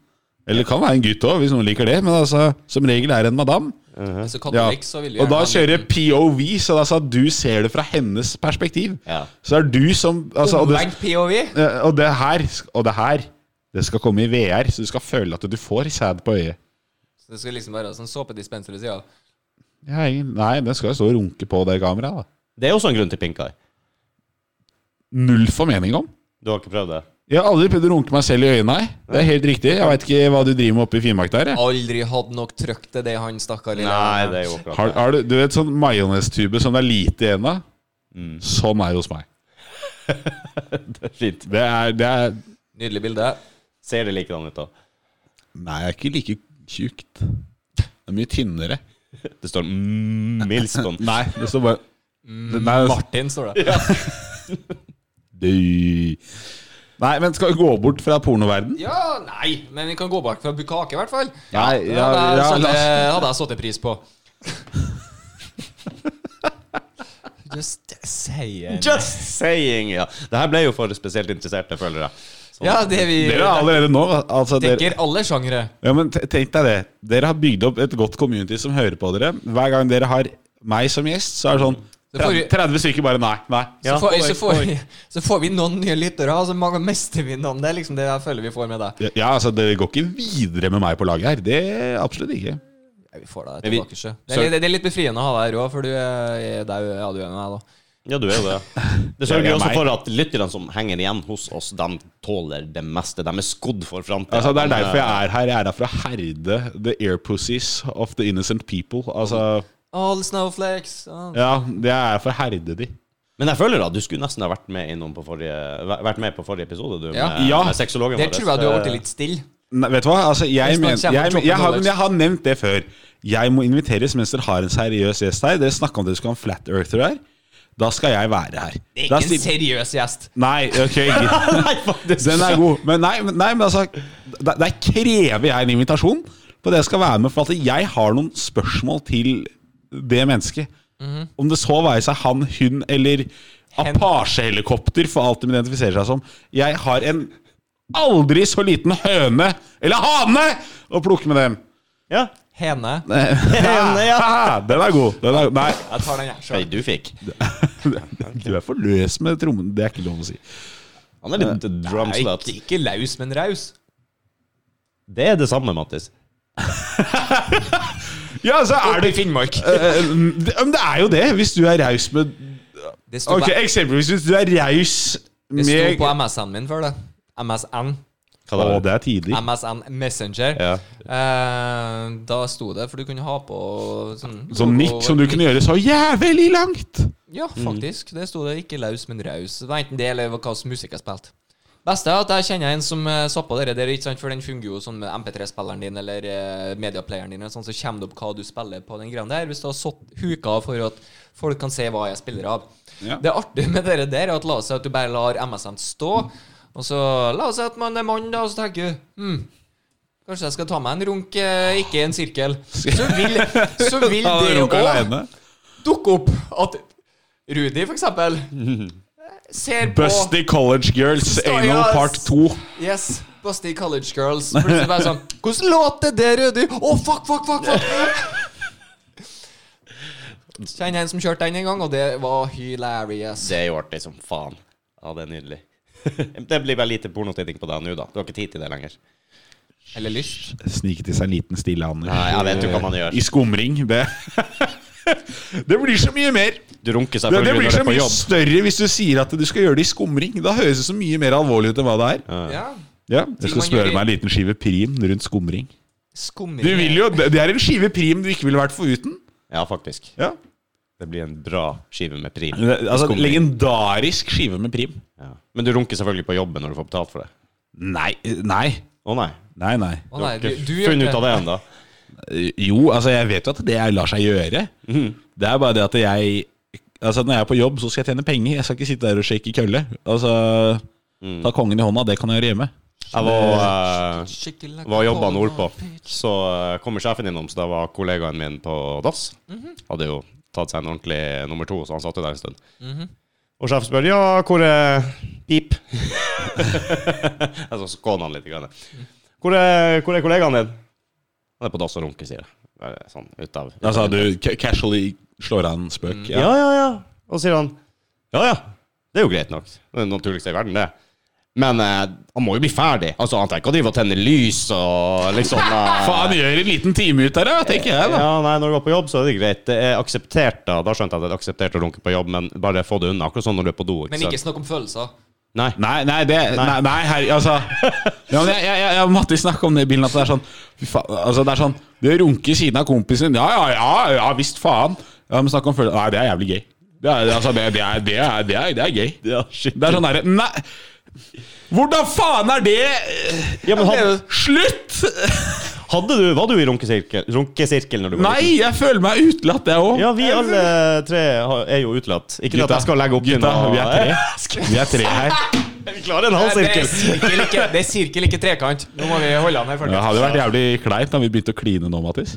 Eller det kan være en gutt òg, hvis noen liker det. Men altså, som regel er det en madame. Så Ja. katolikk, så vil jeg Og da kjører jeg POV, så det er altså at du ser det fra hennes perspektiv. Ja. Så er du som altså, og, Omvendt det, POV. eh, og det her Og det her Det skal komme i VR, så du skal føle at du får sæd på øyet. Så Det skal liksom være sånn såpedispenser ved sida av. Ja, ingen- nei, den skal jo stå og runke på det kameraet, da. Det er også en grunn til pink eye. Null formening om. Du har ikke prøvd det? Jeg har aldri prøvd å runke meg selv i øynene. jeg. Det er helt riktig. Jeg veit ikke hva du driver med oppe i Finnmark der. Jeg. Aldri hatt nok trøkk til det han stakkar lille. Nei, det er jo akkurat Har, har du, du vet sånn majonestube som det er lite igjen av? Sånn er det hos meg. det. Fint. Det er, det er Nydelig bilde. Ser det likedan ut, da? Nei, jeg er ikke like tjukt. Det er mye tynnere. Det står mm, Milston. Nei, det står bare Mm. det, nei, det- Martin, står det. Døy. nei, men skal vi gå bort fra pornoverden? Ja, nei, men vi kan gå bak fra bukake, i hvert fall. Nei, Det ja, hadde jeg ja, satt- la oss- eh, hadde jeg satt pris på. Just saying. Just saying, ja. Det her ble jo for spesielt interesserte, føler jeg. Så- Ja, det vi Dere har allerede nå altså, dere, dekker alle sjangere. Ja, men te- tenk deg det. Dere har bygd opp et godt community som hører på dere. Hver gang dere har meg som gjest, så er det sånn Så får vi- 30, 30 stykker bare nei. nei. Så, Ja, får, korrekt, så, får, vi- så får vi noen nye lyttere, og så mange mister vi noen. Det er liksom det jeg føler vi får med deg. Ja, altså Dere går ikke videre med meg på laget her. Det Absolutt ikke. Nei, vi får deg Men vi- tilbake, sjø. Det, er litt- det er litt befriende å ha deg her òg, for du eh, er, det er jo- ja, du er med meg, da. Ja, du er jo det. Det Ja, sørger det er jo også meg. for at lytterne som henger igjen hos oss, de tåler det meste. De er skodd for framtida. Altså Det er derfor jeg er her. Jeg er her for å herde the air pussies of the innocent people. Altså All snowflakes. ah. Ja, det er for å herde de. Men jeg føler at du skulle nesten ha vært med innom på forrige, væ- vært med på forrige episode, du, Ja. med, Ja. med sexologen Det tror jeg du har eh, blitt litt stille. Nei, vet du hva? Altså, jeg, Hvis man men, kommer jeg, til jeg, Chopping har, Knowledge. jeg har nevnt det før. Jeg må inviteres mens dere har en seriøs gjest her. Dere snakka om dere skulle ha en flat earther her. Da skal jeg være her. Det er Da ikke en stiller- seriøs gjest. Nei, ok greit. Nei, faktisk. Den er god. Men nei, men, nei, men altså der, der krever jeg en invitasjon på det jeg skal være med. For at jeg har noen spørsmål til det mennesket. Om det så være seg han, hun eller Apache-helikopter for alt de identifiserer seg som. Jeg har en aldri så liten høne eller hane å plukke med dem. Ja. Hene. Henne, ja. Haha, den er god. Den er, nei, Jeg tar den, jeg. Hei, Sjøl. du fikk. du er for løs med trommen. Det er ikke lov å si. Han er litt drum Nei, slut. Ikke, ikke laus, men raus. Det er det samme, Mattis. Ja, så er det Finnmark. Eh, det, men det er jo det, hvis du er raus med Det sto, Ok, på, Eksempelvis hvis du er raus det sto med på MSN min før det. MSN. Hva Å, det er? det er tidlig. MSN Messenger. Ja. Eh, da sto det, for du kunne ha på sånn Sånn nikk som du kunne gjøre så jævlig langt. Ja, Mm. faktisk. Det sto det ikke laus, men raus. Det var enten det eller hva slags musikk jeg spilte. Beste er at jeg kjenner en som eh, sa på dere der, ikke sant? for den fungerer jo sånn med MP3-spilleren din eller eh, mediaplayeren din, og sånn, så kommer det opp hva du spiller på den greia der, hvis du har satt huka for at folk kan se hva jeg spiller av. Ja. Det artige med dere der er at la oss si at du bare lar MSN stå, og så la oss si at man er mann, da, og så tenker du hm, Kanskje jeg skal ta meg en runk, eh, ikke en sirkel. Så vil, så vil Ja, det runke òg alene. dukke opp at Rudi, for eksempel, ser på Busty College Girls, Stå- Anal ja, Part s- 2. Yes, Busty College Girls. Plutselig bare sånn Hvordan låt er det, Rudi? Å, fuck, fuck, fuck! fuck. Kjenner en som kjørte den en gang, og det var hilarious. Det er jo artig som faen. Ja, det er nydelig. det blir bare lite pornotitting på deg nå, da. Du har ikke tid til det lenger. Eller lyst. Sniket i seg en liten stille Anders. Nei, jeg vet jo hva man gjør. I skumring. Det Det blir så mye mer. Du runker Det, det selvfølgelig blir når du så er på mye jobb. større hvis du sier at du skal gjøre det i skumring. Da høres det så mye mer alvorlig ut enn hva det er. Ja. Ja, Jeg Ting skal man gjør smøre i- meg en liten skive prim rundt skumring. Skumring. Du vil jo, Det det er en skive prim du ikke ville vært foruten. Ja, faktisk. Ja. Det blir en bra skive med prim. Det- Altså, Skumring. legendarisk skive med prim. Ja. Men du runker selvfølgelig på jobben når du får betalt for det. Nei, nei. Å nei. Nei, nei. Å nei, Du du, har du ikke funnet ut av det ennå. Jo, altså, jeg vet jo at det lar seg gjøre. Det er bare det at jeg Altså, når jeg er på jobb, så skal jeg tjene penger. Jeg skal ikke sitte der og shake kølle. Altså, ta kongen i hånda. Det kan jeg gjøre hjemme. Jeg var, eh, Skikkelig- var jobba nordpå, så eh, kommer sjefen innom, så da var kollegaen min på dass. Hadde jo tatt seg en ordentlig nummer to, så han satt jo der en stund. Og sjefen spør ja, hvor er pip? Jeg så skåner han litt. Grann. Hvor, er, hvor er kollegaen din? Han er på dass og runker, sier jeg. Bare Sånn ut av Altså, du ca- casually slår av en spøk. Ja, ja, ja. Og så sier han Ja, ja. Det er jo greit nok. Det er det naturligste i verden, det. Men eh, han må jo bli ferdig. Altså, Han trenger ikke å drive og tenne lys og liksom eh, Faen, gjør en liten time ut der, da, tenker jeg, da. Ja, nei, Når du går på jobb, så er det greit. Det er akseptert, da. Da skjønte jeg at det er akseptert å runke på jobb, men bare få det unna. Akkurat sånn når du er på do. Men ikke sant? snakk om følelser. Nei. Nei, nei, det, nei, nei her, altså ja, men jeg, jeg, jeg, jeg og Matti snakka om det i bilen at det er sånn fy faen, altså det er sånn Du runker siden av kompisen din. Ja, ja, ja, ja visst faen. Ja, men snakk om følelser. Nei, det er jævlig gøy. Det er, altså, det, det, er, det, er, det, er, det er gøy. Ja, shit. Det er sånn derre Nei! Hvordan faen er det Ja, men had, Slutt! hadde du, Var du i runkesirkel, runkesirkel når du var Nei, liten? jeg føler meg utelatt, jeg òg. Ja, vi alle tre har- er jo utelatt. Ikke at Gutta, jeg skal legge opp til gutta, noe- vi er tre. Vi er tre her. Vi klarer en halv Det er sirkel. sirkel, ikke, det er sirkel, ikke trekant. Nå må vi holde han her, Det folkens. hadde jo vært jævlig kleint om vi begynte å kline nå, Mattis.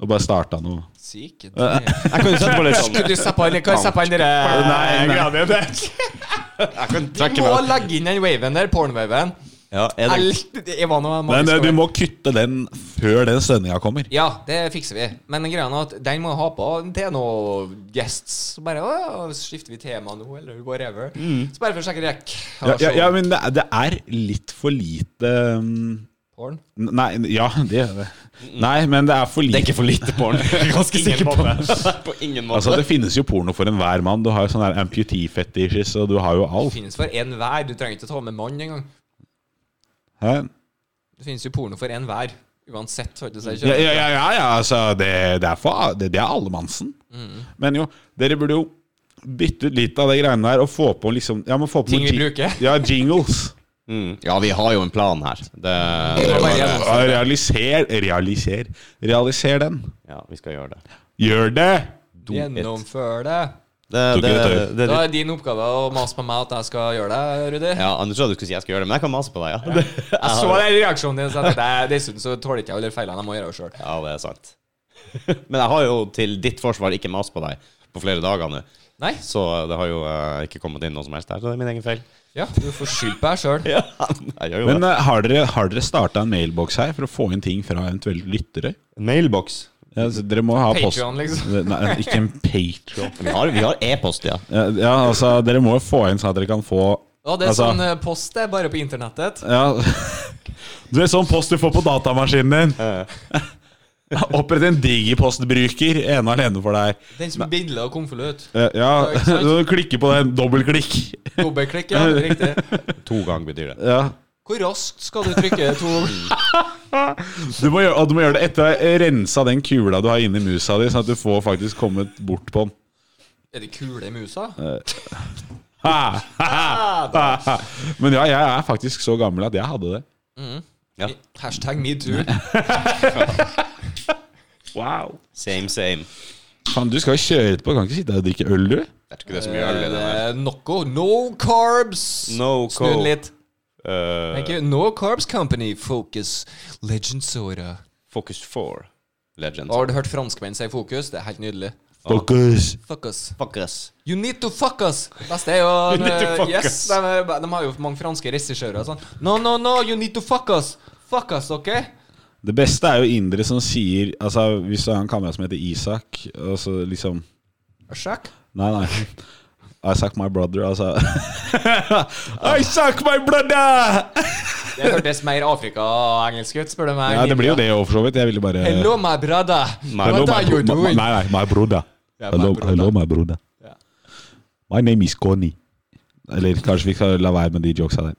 Og bare starta noe. Syke tre. Jeg kunne sett på litt sånn. Kan du se på han- kan jeg se på han derre Nei, nei. Jeg kan Du trekke må meg opp. legge inn den waven der, pornwaven. Ja, er det- Alt- Jeg var noe- Men eh, du må kutte den før den sendinga kommer. Ja, det fikser vi. Men greia er at den må jeg ha på til noe guests. Så bare å, skifter vi tema nå, eller whatever. Så bare for å sjekke rekk. Mm. Ja, ja, ja men det er, det er litt for lite um, Porn. Nei, ja, det er det. Nei, men det er for lite. for lite porn. Jeg er ganske sikker på det. På ingen måte. Altså, det finnes jo porno for enhver mann. Du har jo sånn her amputee-fetishes, og du har jo Det alt. finnes for enhver. Du trenger ikke ta med mann engang. Hæ? Det finnes jo porno for enhver. Uansett, hørte seg Ja, ikke. ja, ja, ja, ja altså, det, det er for det, det er allemannsen. Mm. Men jo, dere burde jo bytte ut litt av de greiene der, og få på liksom ja, men få på Ting vi jing- bruker. Ja, jingles. Mm. Ja, vi har jo en plan her. Det, Det var Ja, bare en. Realiser, realiser, realiser den. ja, vi skal gjøre det. Gjør det! Gjennomfør det. Det, Tok det, jeg det, det Da er din oppgave å mase på meg at jeg skal gjøre det, Rudi. ja, Anders trodde du skulle si jeg skulle gjøre det, men jeg kan mase på deg. Ja, det, Jeg så den reaksjonen din. Så jeg tenkte, jeg- dessuten så tåler ikke jeg alle de feilene jeg må gjøre sjøl. ja, det er sant. Men jeg har jo til ditt forsvar ikke mast på deg på flere dager nå. Nei? Så det har jo eh, ikke kommet inn noe som helst der, så det er min egen feil. Ja, du får skyld på deg sjøl. Ja, jeg gjør jo Men eh, har dere, har dere starta en mailboks her for å få inn ting fra eventuelle lyttere? det. Mailbox. Ja, så dere må ha post... Patreon, liksom. Nei, ikke en Patreon. Vi har, vi har e-post, ja. Ja, ja, altså, dere må jo få inn sånn at dere kan få Og det er altså, sånn eh, post, det, er bare på internettet. ja. Du er sånn post du får på datamaskinen din. Opprett en digipost-bruker ene alene for deg. Den som er bindla og konvolutt. Eh, Ja, Ja, ikke sant? du klikker på den. Dobbeltklikk. Dobbeltklikk, ja. det er Riktig. To ganger betyr det. Ja. Hvor raskt skal du trykke to Du må gjøre, og du må gjøre det etter å ha rensa den kula du har inni musa di, sånn at du får faktisk kommet bort på den. Er det kule musa? Ha, ha, ha, ha. Men ja, jeg er faktisk så gammel at jeg hadde det. Ja. Hashtag metoo. Wow Same, same. Faen, du skal jo kjøre etterpå. Du kan ikke sitte her og drikke øl, du. Jeg tror ikke det er så mye øl i det der. Eh, Noe. No carbs. No Snu den co- litt. Eh, Thank you. No Carbs Company Focus Legend Soda. Focus 4 Legends. Har du hørt franskmenn si fokus? Det er helt nydelig. Fokus. Fuck us. Fuck us. You need to fuck us! Det beste er jo need to fuck Yes, us. de, er- de har jo mange franske regissører og sånn. No, no, no, you need to fuck us! Fuck us, OK? Det beste er jo indere som sier Altså, hvis du har en kamerat som heter Isak, og så liksom Sjekk. Nei, nei. I suck my brother, altså. I suck my brother! Det hørtes mer Afrika og engelsk ut, spør du meg. Ja, det blir jo det for så vidt. Jeg ville bare Hello, my brother. Hello, What are you bro- doing? Nei, nei, my brother. Ja, my hello, brother. hello, my brother. Ja. My name is Conny. Eller kanskje vi skal la være med de jokesa der.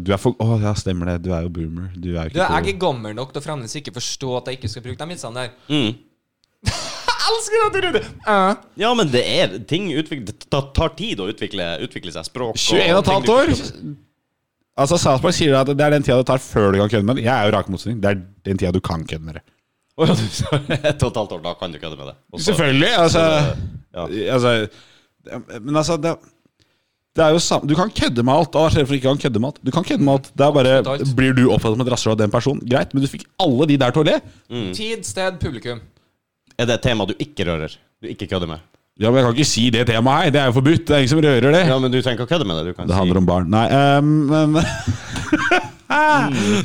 Du er for Å, ja, stemmer det. Du er jo boomer. Du er jo Du, ikke jeg på- er gammel nok til å fremdeles ikke forstå at jeg ikke skal bruke de vitsene der. Mm. jeg elsker at du gjør det! Uh. Ja, men det er ting utvikler, Det ta- tar tid å utvikle, utvikle seg språk. og 21 og et ting halvt du- år! Altså, South Park sier at det er den tida det tar før du kan kødde med det. Jeg er jo rak motsetning. Det er den tida du kan kødde med det. Å, ja, du sa Et og et halvt år, da kan du kødde med det. Og så- Selvfølgelig! Altså, Ja. altså det- Men altså det, det er jo sam Du kan kødde med alt. Hva skjer det for ikke kan kødde med alt? Du kan kødde med alt. Det er Absolutt bare alt. Blir du oppfattet som et rasshøl av den personen? Greit, men du fikk alle de der til å le. Tid, sted, publikum. Er det et tema du ikke rører? Du ikke kødder med? Ja, men jeg kan ikke si det temaet her. Det er jo forbudt. Det er ingen som rører det. Ja, men du trenger ikke å kødde med det. Du kan Det handler si om barn. Nei, ehm, men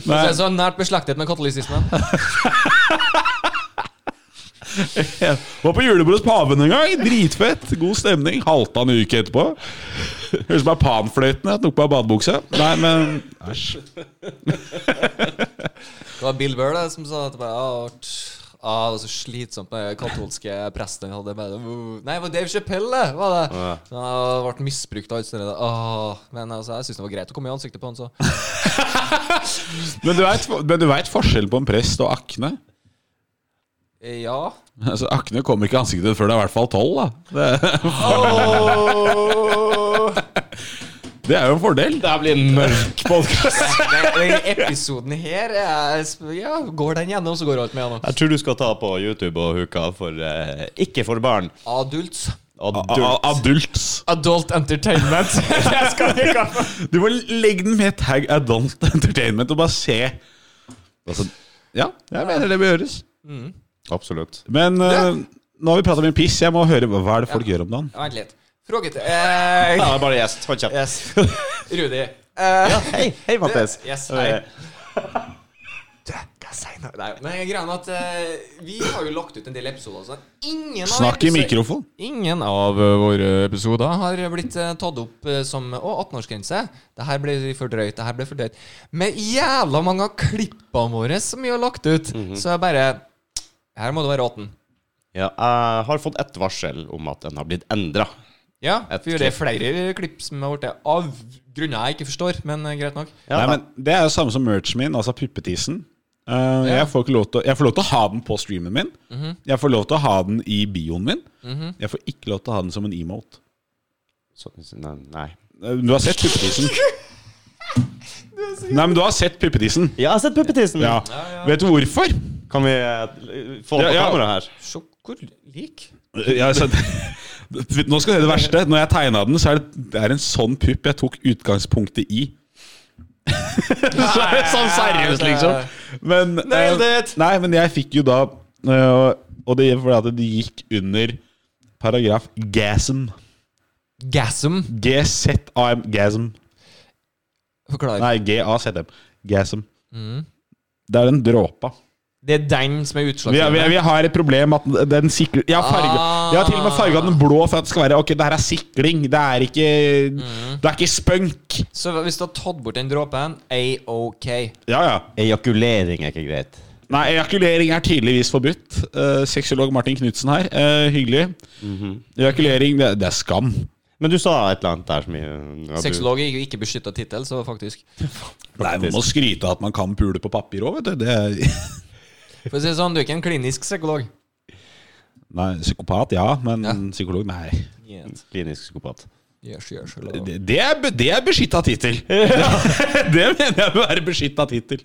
Det er så nært beslektet med katolisismen. Var på julebord hos paven en gang. Dritfett. God stemning. Halta en uke etterpå. Høres ut som jeg er panfløytende. Tok på meg badebukse. Nei, men Æsj. Det var Bill Burr da, som sa at det bare, «Åh, t- ah, det var så slitsomt med katolske presten. Hadde bare, «Uh». Nei, det var Dave Chappelle, det, var det. Ja. Så Han ble misbrukt av alt sånt. der. Åh, men altså, jeg syns det var greit å komme i ansiktet på han, så. Men du vet- Men du veit forskjellen på en prest og akne? Eh, Ja. Altså, Akne kommer ikke i ansiktet før det er i hvert fall tolv. da. Det, det er jo en fordel. Det her blir en mørk podkast. Den den eh, episoden her er, ja, Går den gjennom, så går alt med gjennom. Jeg tror du skal ta på YouTube og huka for eh, Ikke for barn. Adults. Adult. A- Adults. Adult entertainment. Jeg skal ikke ha- Du må legge den med tag Adult Entertainment og bare se. Altså, ja, jeg mener det bør gjøres. Absolutt. Men eh, nå har vi prata mye piss. Jeg må høre hva hva er det folk gjør om dagen. Vent litt. Frågete. Eh, Ja, det er bare gjest. Hold kjeft. yes. Rudi. Eh, Hei, hei, Mattis. Eh, Yes, hei. Du, hva sier jeg nå? Nei, men greia er at eh, vi har jo lagt ut en del episoder. Så ingen av Snakk i episo- mikrofon. Ingen av eh, våre episoder har blitt eh, tatt opp eh, som Å, 18-årsgrense. Det her ble for drøyt. Det her ble for drøyt. Men jævla mange av klippene våre som vi har lagt ut, Mhm. så jeg bare Her må du være 18. Ja, jeg har fått ett varsel om at den har blitt endra. Ja, Et for det er flere klipp som har blitt av grunner jeg ikke forstår, men eh, greit nok. Ja, Nei, men Det er jo samme som merchen min, altså puppetissen. Eh, jeg, får ikke lov til, å- jeg får lov til å ha den på streamen min. Jeg får lov til å ha den i bioen min. Jeg får ikke lov til å ha den som en emote. Så, nei, nei. Eh, Du har sett puppetissen. Nei, men du har sett puppetissen. Ja, jeg har sett puppetissen. Ja. Vet du hvorfor? Kan vi eh, få Ja, den på ja. kamera her? Sjokolik? Jeg har sett- Nå skal du høre det verste. Når jeg tegna den, så er det, det er en sånn pupp jeg tok utgangspunktet i. så er det sånn seriøst, altså, liksom. Men, Nailed eh, it! Nei, men jeg fikk jo da eh, Og det er fordi at det gikk under Paragraf gasm. Gasm. GZAM. Gasm. Forklar. Nei, GAZM. Gasm. Det er den dråpa. Det er den som er Vi, vi, utslagsgivende. vi har et problem at den sikler Jeg har, farget, Ah. jeg har til og med farga den blå for at det skal være Ok, det her er sikling. Det er ikke Mm. Det er ikke spunk. Så hvis du har tatt bort den dråpen, AOK. Ja, ja. Ejakulering er ikke greit. Nei, ejakulering er tydeligvis forbudt. Eh, Sexolog Martin Knutsen her. Eh, hyggelig. Mhm. Ejakulering, det, det er skam. Men du sa et eller annet der som jeg- at du- Sexolog er jo ikke beskytta tittel, så faktisk Nei, Man må skryte av at man kan pule på papir òg, vet du. Det er For å si det sånn, du er ikke en klinisk psykolog. Nei, psykopat, ja, men Ja. psykolog, nei. Yes, Klinisk psykopat. yes, yes, Det, det er, be- det er beskytta tittel! det mener jeg bør være beskytta tittel.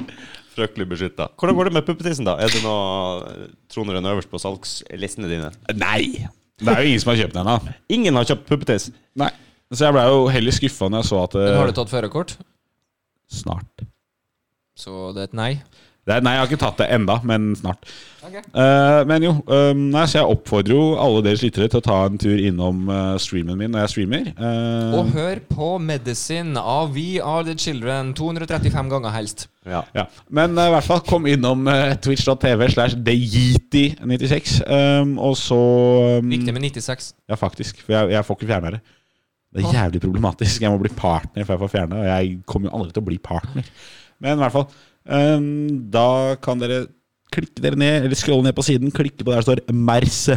Frøkelig beskytta. Hvordan går det med puppetissen, da? Er det noe Troner den øverst på salgslistene dine? Nei! Det er jo ingen som har kjøpt den ennå. Ingen har kjøpt puppetiss. Nei. Så jeg blei jo heller skuffa når jeg så at Men eh, har du tatt førerkort? Snart. Så det er et nei. Det er, nei, jeg har ikke tatt det enda, men snart. Ok. Eh, men jo, eh, nei, så jeg oppfordrer jo alle deres lyttere til å ta en tur innom eh, streamen min når jeg streamer. Eh, Og hør på Medicine av We Are The Children 235 ganger helst. Ja. Ja. Men eh, i hvert fall kom innom eh, twitch.tv slash theyeti96. Um, og så um, Viktig med 96. Ja, faktisk. For jeg, jeg får ikke fjerna det. Det er jævlig problematisk. Jeg må bli partner før jeg får fjerna det. Og jeg kommer jo aldri til å bli partner. Men i hvert fall um, Da kan dere klikke dere ned, eller scrolle ned på siden. Klikke på der det står 'merse'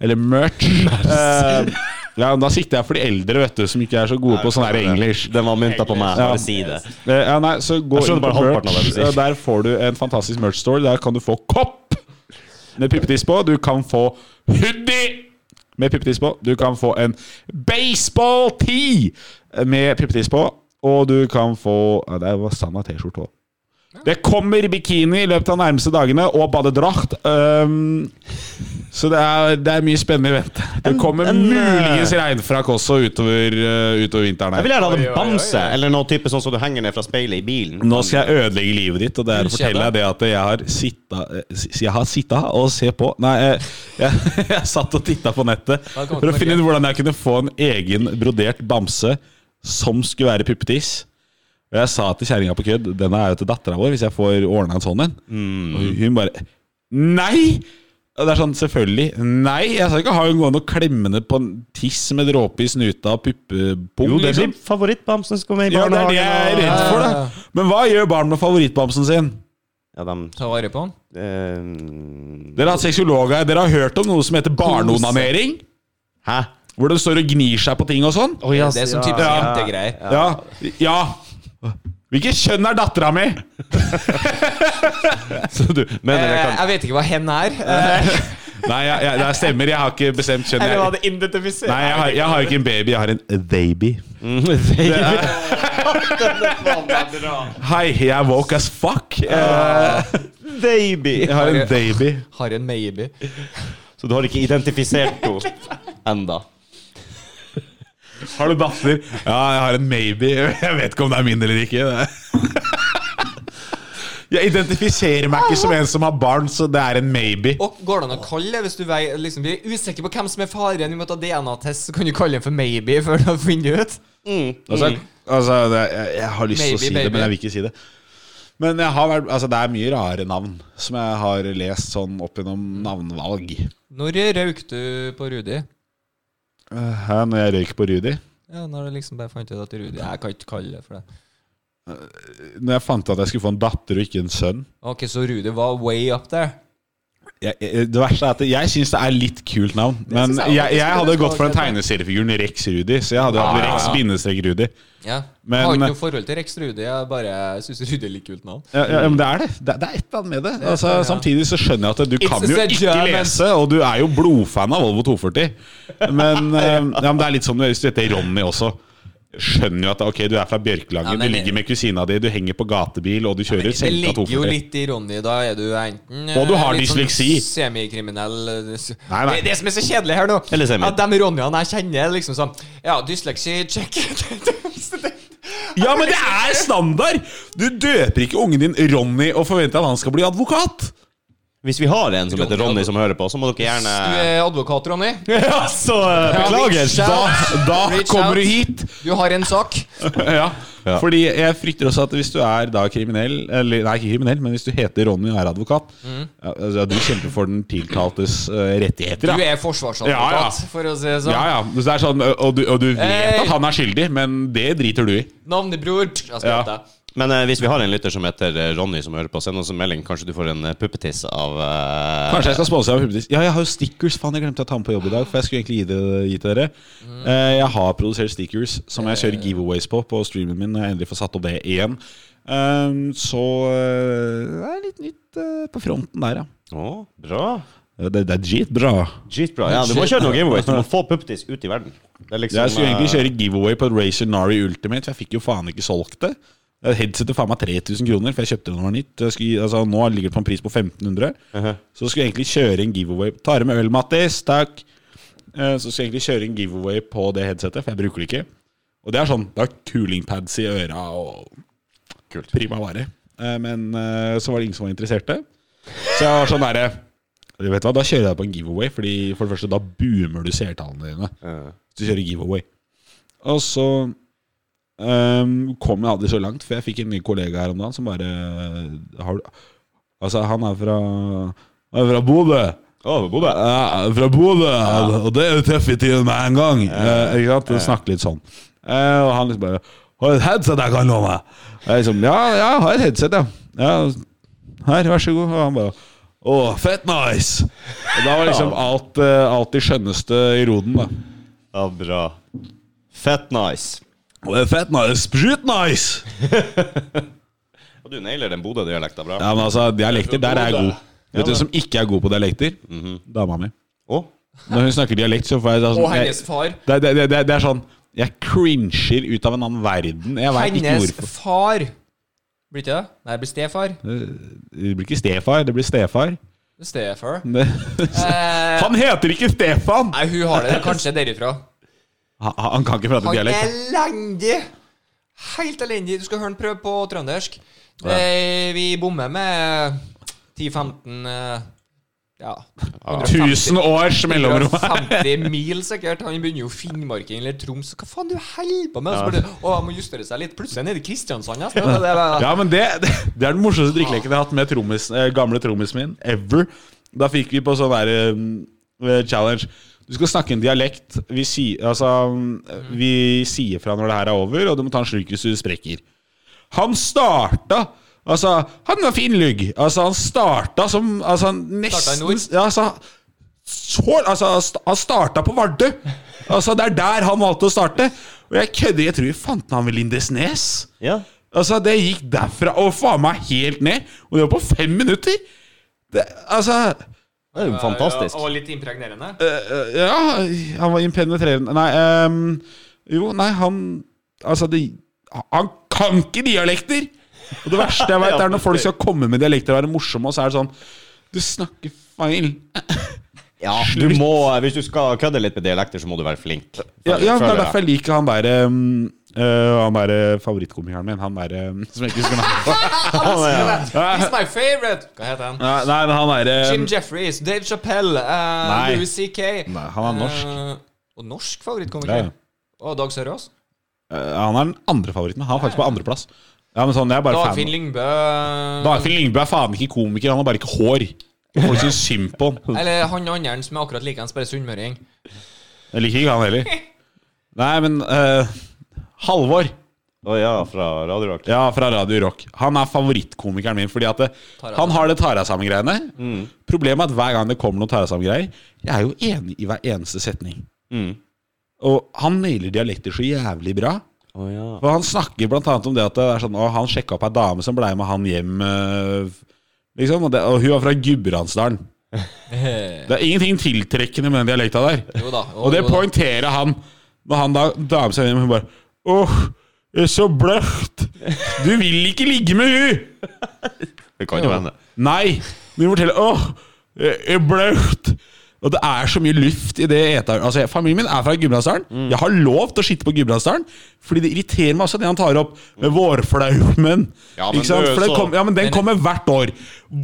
eller 'merch'. Eh, ja, men da sikter jeg for de eldre, vet du, som ikke er så gode på sånn her engelsk. Den var mynta på meg. Ja. Bare si det. Eh, Ja, nei, så gå Jeg skjønner inn på bare halvparten av det merch. du sier. og Der får du en fantastisk merch store. Der kan du få kopp med puppetiss på. Du kan få hoodie med puppetiss på. Du kan få en baseball-tee med puppetiss på. Og du kan få ja, Det var sanna T-skjorte òg. Det kommer bikini i løpet av de nærmeste dagene, og badedrakt. Um, så det er, det er mye spennende i vente. Det kommer en, eh, muligens regnfrakk også utover, uh, utover vinteren. Jeg her ville gjerne hatt Oi, oi, oi, en bamse, oi. eller noe type sånn som du henger ned fra speilet i bilen. Nå skal jeg ødelegge livet ditt, og det er å Ullkjede. fortelle deg det at jeg har sitta eh, s- Jeg har sitta og se på Nei, jeg, jeg, jeg satt og titta på nettet Velkommen for å til finne Norge. ut hvordan jeg kunne få en egen brodert bamse som skulle være puppetiss. Og jeg sa til kjerringa på kødd Den er jo til dattera vår, hvis jeg får ordna en sånn en. Mm. Og hun bare Nei! Og det er sånn, selvfølgelig. Nei! Jeg skal ikke ha hun gående og klemmende på en tiss med dråpe i snuta og puppepung. Jo, det liksom. blir favorittbamsen som skal med i Ja, det er det jeg er barnehagen. redd for, da. Men hva gjør barn med favorittbamsen sin? Ja, de, Ta vare på den. eh, Dere har hatt sexologer her. Dere har hørt om noe som heter barneonanering? Hæ? Hvor de står og gnir seg på ting og sånn? Å, ja, Det er sånn typisk ja. jentegreier. Ja. ja. Hvilket kjønn er dattera mi? Så du mener Eh, jeg kan jeg vet ikke hva hen er. Eh, Nei, jeg, jeg, det stemmer. Jeg har ikke bestemt kjønn. eller hva det Jeg, identifiserer. nei, jeg har, jeg har ikke en baby. Jeg har en baby. Mm, Hei, jeg er woke as fuck. Eh, Baby! Jeg har en baby. Har en maybe. Så du har ikke identifisert henne enda Har du datter? Ja, jeg har en maybe. Jeg vet ikke om det er min eller ikke. Jeg identifiserer meg ikke som en som har barn, så det er en maybe. Og går det an å kalle det hvis du vei- liksom, blir usikker på hvem som er faren? Vi må ta DNA-test, så kan du kalle den for maybe før du har funnet ut. Altså, Mm. altså det, jeg, jeg har lyst til å Maybe, si det, baby. men jeg vil ikke si det. Men jeg har vært, altså, det er mye rare navn som jeg har lest sånn opp gjennom navnvalg. Når røyk du på Rudi? Hæ, Eh, når jeg røyk på Rudi? Ja, når du liksom bare fant ut at Rudi Jeg kan ikke kalle det for det. Når jeg fant ut at jeg skulle få en datter og ikke en sønn. Ok, så Rudi var way up there. jeg, jeg- det verste er at jeg syns det er litt kult navn. Men synes jeg jeg, også. jeg, hadde Det skal gått for den ikke være. tegneseriefiguren Rex Rudi, så jeg hadde hatt Rex bindestrek Rudi. Ja. Men- jeg har ikke noe forhold til Rex Rudi, jeg bare syns Rudi er litt kult navn. Ja, ja, men det er det. Det, det er et eller annet med det. Altså, ja. Samtidig så skjønner jeg at du kan It's jo a ikke German. lese, og du er jo blodfan av Volvo 240. Men, eh, ja, men det er litt som hvis du heter Ronny også. Skjønner jo at ok, du er fra Bjørkelangen, Ja, men- du ligger med kusina di, du henger på gatebil, og du kjører Det senka ligger jo 240. litt i Ronny. Da er du enten eh, Og du har litt dysleksi. Sånn semikriminell eh, s- Nei, nei. Det er det som er så kjedelig her nå. Eller semi. At de Ronnyene jeg kjenner, er liksom sånn Ja, dysleksi, check. Så det- Ja, men det er standard! Du døper ikke ungen din Ronny og forventer at han skal bli advokat. Hvis vi har en som heter Ronny som hører på, så må dere Du Eh. er advokat, Ronny. gjerne Ja, så eh, Ja, beklager! reach out. Da, da Reach out. kommer du hit! Du har en sak. ja. Ja. Fordi jeg frykter også at hvis du er da kriminell Eller nei, ikke kriminell, men hvis du heter Ronny og er advokat Mm. ja, altså, Du kjemper for den tiltaltes eh, rettigheter. Du Da. er Ja, ja. forsvarsadvokat, for å si det sånn. Ja, ja. Så det er sånn, og, du, og du vet Hey. at han er skyldig, men det driter du i. Navnebror. tsk, Jeg skal Ja. hete deg. Men eh, hvis vi har en lytter som heter eh, Ronny som hører på, send oss en melding. Kanskje du får en eh, puppetiss av eh, Kanskje jeg skal sponse deg med puppetiss. Ja, jeg har jo stickers. Faen, jeg glemte å ta med på jobb i dag. For jeg skulle egentlig gi det gi til dere. Eh, jeg har produsert stickers som jeg kjører giveaways på på streamen min. Når jeg endelig får satt opp det igjen. Ehm, så eh, det er litt nytt eh, på fronten der, ja. Å, bra. Det, det er dritbra. Skitbra. Ja, du må kjøre noen giveaways. Du må få puppetiss ut i verden. Det er liksom, Jeg skulle egentlig eh, kjøre giveaway på Razer Nari Ultimate, for jeg fikk jo faen ikke solgt det. Eh, Headsetet faen meg 3000 kroner, for jeg kjøpte det når det var nytt. Jeg skulle, gi- altså, nå ligger det på en pris på 1500. Så skulle jeg egentlig kjøre en giveaway Ta det med øl, Mattis. Takk. Eh, Så skulle jeg egentlig kjøre en giveaway på det headsetet, for jeg bruker det ikke. Og det er sånn Det er coolingpads i øra og Kult. prima vare. Eh, Men eh, så var det ingen som var interesserte. Så jeg var sånn derre du vet hva, Da kjører jeg deg på en giveaway, Fordi for det første da boomer du seertallene dine. eh, Du kjører giveaway. Og så ehm, kom jeg aldri så langt, for jeg fikk en ny kollega her om dagen som bare eh, har, du- Altså, han er fra Han er fra Bodø. Å, Bodø. Ja, fra Bodø. Og det er jo tøff i tiden med en gang. Eh, ikke sant? Snakke litt sånn. Eh, og han liksom bare Har du et headset jeg kan låne? Jeg liksom, ja, ja, jeg har et headset, ja. ja. Her, vær så god. Og han bare Å, fett nice! Og da var liksom alt, eh, alt de skjønneste i roden, da. Ja, bra. Fett nice. Det er fett nice. Sprut nice! Og du nailer den Bodø-dialekta bra. Ja, men altså, dialekter, der er jeg god. Vet du men- hvem som ikke er god på dialekter? Dama mi. Å, Når hun snakker dialekt, så får jeg da Og sånn jeg, hennes far. det, det, det, det, det er sånn Jeg cringer ut av en annen verden. Jeg vet ikke Hennes hvorfor. far. Blir ikke det? Nei, det blir stefar. Det blir ikke stefar, det blir stefar. Stefar. Det. Eh, Han heter ikke Stefan! nei, hun har det kanskje derifra. Han, han kan ikke prate Han er dialekt. elendig! Helt elendig. Du skal høre han prøve på trøndersk. Eh, vi bommer med 10-15 eh, Ja. 150 Tusen års mellomrom! 150 mil, sikkert. Han begynner jo Finnmarking eller Troms. Hva faen du holder på med? Og så bare, å, jeg må justere seg litt. Plutselig er det Kristiansand. nesten. Det er bare- Ja, men det, det, det er den morsomste drikkeleken jeg har hatt med trommis, eh, gamle trommisen min ever. Da fikk vi på sånn der eh, challenge. Du skal snakke en dialekt. Vi, si, altså, mm, Mhm. vi sier fra når det her er over, og du må ta en slurk hvis du sprekker. Han starta Altså, han var finlugg. Altså, han starta som altså, han Starta i Nesten nord? ja, altså, så, altså, han sta- Han starta på Vardø. Altså, det er der han valgte å starte. Og jeg kødder. Jeg tror vi fant han ved Lindesnes. Ja. Altså, det gikk derfra og faen meg helt ned. Og det var på fem minutter! Det, altså Det er jo fantastisk. Ja, og litt impregnerende. øh, Ja, han var impenetrerende Nei, ehm, jo, nei, han Altså, det Han kan ikke dialekter! Og det verste jeg veit, er når folk skal komme med dialekter og være morsomme, og så er det sånn Du snakker feil. Ja, du må, eh, hvis du skal kødde litt med dialekter, så må du være flink. Ja, ja det er derfor jeg jeg. liker han derre Han derre favorittkomikeren min, han derre som jeg ikke husker navnet på. He's my favorite! Hva heter han? Nei, nei, men han ehm, derre Jim Jeffries, Dave Chappelle, uh, Nei. Louis C.K. Nei, han er norsk. Eh, og norsk Ja, favorittkomiker? ja. Og Dag Sørås? Eh, Han er den andre favoritten. Han er faktisk på andreplass. Ja, men sånn, jeg er bare Dagfinn fan. Lyngbø? Mm. Dagfinn Lyngbø er faen ikke komiker, han har bare ikke hår. Folk syns synd på han. Eller han andre som er akkurat likeens, bare sunnmøring. Jeg liker ikke han heller. Nei, men eh, Halvor, Å ja, fra Radio Rock. ja, fra Radio Rock, han er favorittkomikeren min. Fordi at det, deg han har det tar deg sammen-greiene. Problemet er at hver gang det kommer noen tar deg sammen-greier, jeg er jo enig i hver eneste setning. Og han nailer dialekter så jævlig bra. Å ja. For han snakker blant annet om det at det er sånn, å, han sjekka opp ei dame som blei med han hjem eh, liksom, og, det, og hun var fra Gudbrandsdalen. Det er ingenting tiltrekkende med den dialekta der. Jo da, jo, og det jo da. poengterer han når han da dame seg hjem. Hun bare åh, jeg er så bløft! Du vil ikke ligge med hun! Det kan jo hende. Nei! Men hun forteller åh, jeg er bløft! Og det er så mye luft i det eteren. Altså, jeg- familien min er fra Gudbrandsdalen. Mm. Jeg har lov til å skitte på Gudbrandsdalen, fordi det irriterer meg også det han tar opp med vårflaumen. Ja, men Ikke sant? det er jo For den så- kom, ja, men den kommer hvert år.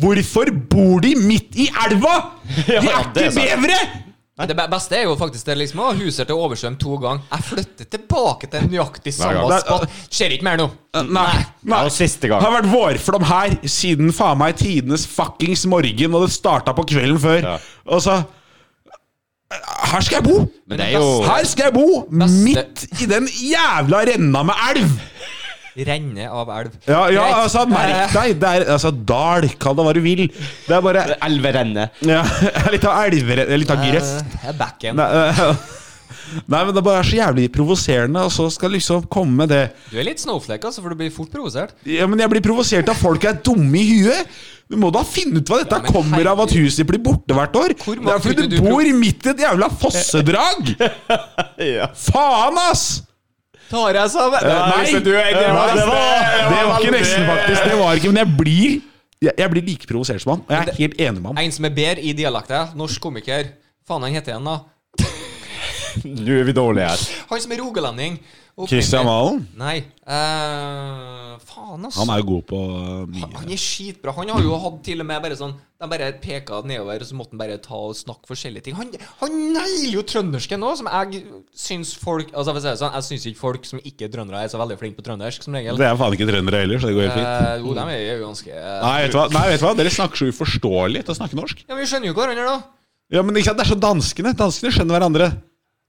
Hvorfor bor de midt i elva?! De Ja, er ja, det er ikke sant. bevere! Det be- beste er jo faktisk det liksom å ha huset til oversvømt to ganger. Jeg flytter tilbake til nøyaktig samme gang. spot. Skjer ikke mer nå. Nei. Ja, og siste gang. Det har vært vårflom her siden faen meg tidenes fuckings morgen, og det starta på kvelden før. Ja. Og så Her skal jeg bo! Men det er jo Her skal jeg bo! Beste- Midt i den jævla renna med elv! Renne av elv. Ja, ja Greit. altså, merk deg! Det er altså dal, kall det hva du vil. Det er bare Elverenne. ja, Litt av elver... Litt av gress. Eh, Jeg er back igjen. Nei, eh, nei, men det bare er så jævlig provoserende, og så skal liksom komme det Du er litt snowflake, altså, for du blir fort provosert. Ja, men jeg blir provosert av folk er dumme i huet. Du må da finne ut hva dette Ja, men kommer av at huset ditt blir borte hvert år. Hvor Det er mange fordi kutter du du bor midt i et jævla fossedrag! Ja. Faen, ass! Tar jeg sammen? Nei, hvis du er- det var- det var, det var ikke aldri- nesten, faktisk. Det var ikke, Men jeg blir jeg, jeg blir like provosert som han, og jeg er helt enig med han. En som er bedre i dialekten. Norsk komiker. Faen, han heter igjen, da. Nå er vi dårlige her. Han som er rogalending. Opprinnelig. Kristian Valen Nei. eh, faen, altså. han er jo god på mye. Han er skitbra. Han har jo hatt til og med bare sånn De bare peka nedover, og så måtte han bare ta og snakke forskjellige ting. Han, han nailer jo trøndersken nå, som jeg syns folk Altså, for å si det sånn, jeg syns ikke folk som ikke er trøndere, er så veldig flinke på trøndersk, som regel. Det er faen ikke trøndere heller, så det går helt fint. Eh, jo, de er jo ganske eh, Nei, vet du hva? Nei, vet du hva? Dere snakker så uforståelig til å snakke norsk. Ja, men vi skjønner jo hverandre, da. Ja, men ikke sant, Det er så danskene. Danskene skjønner hverandre.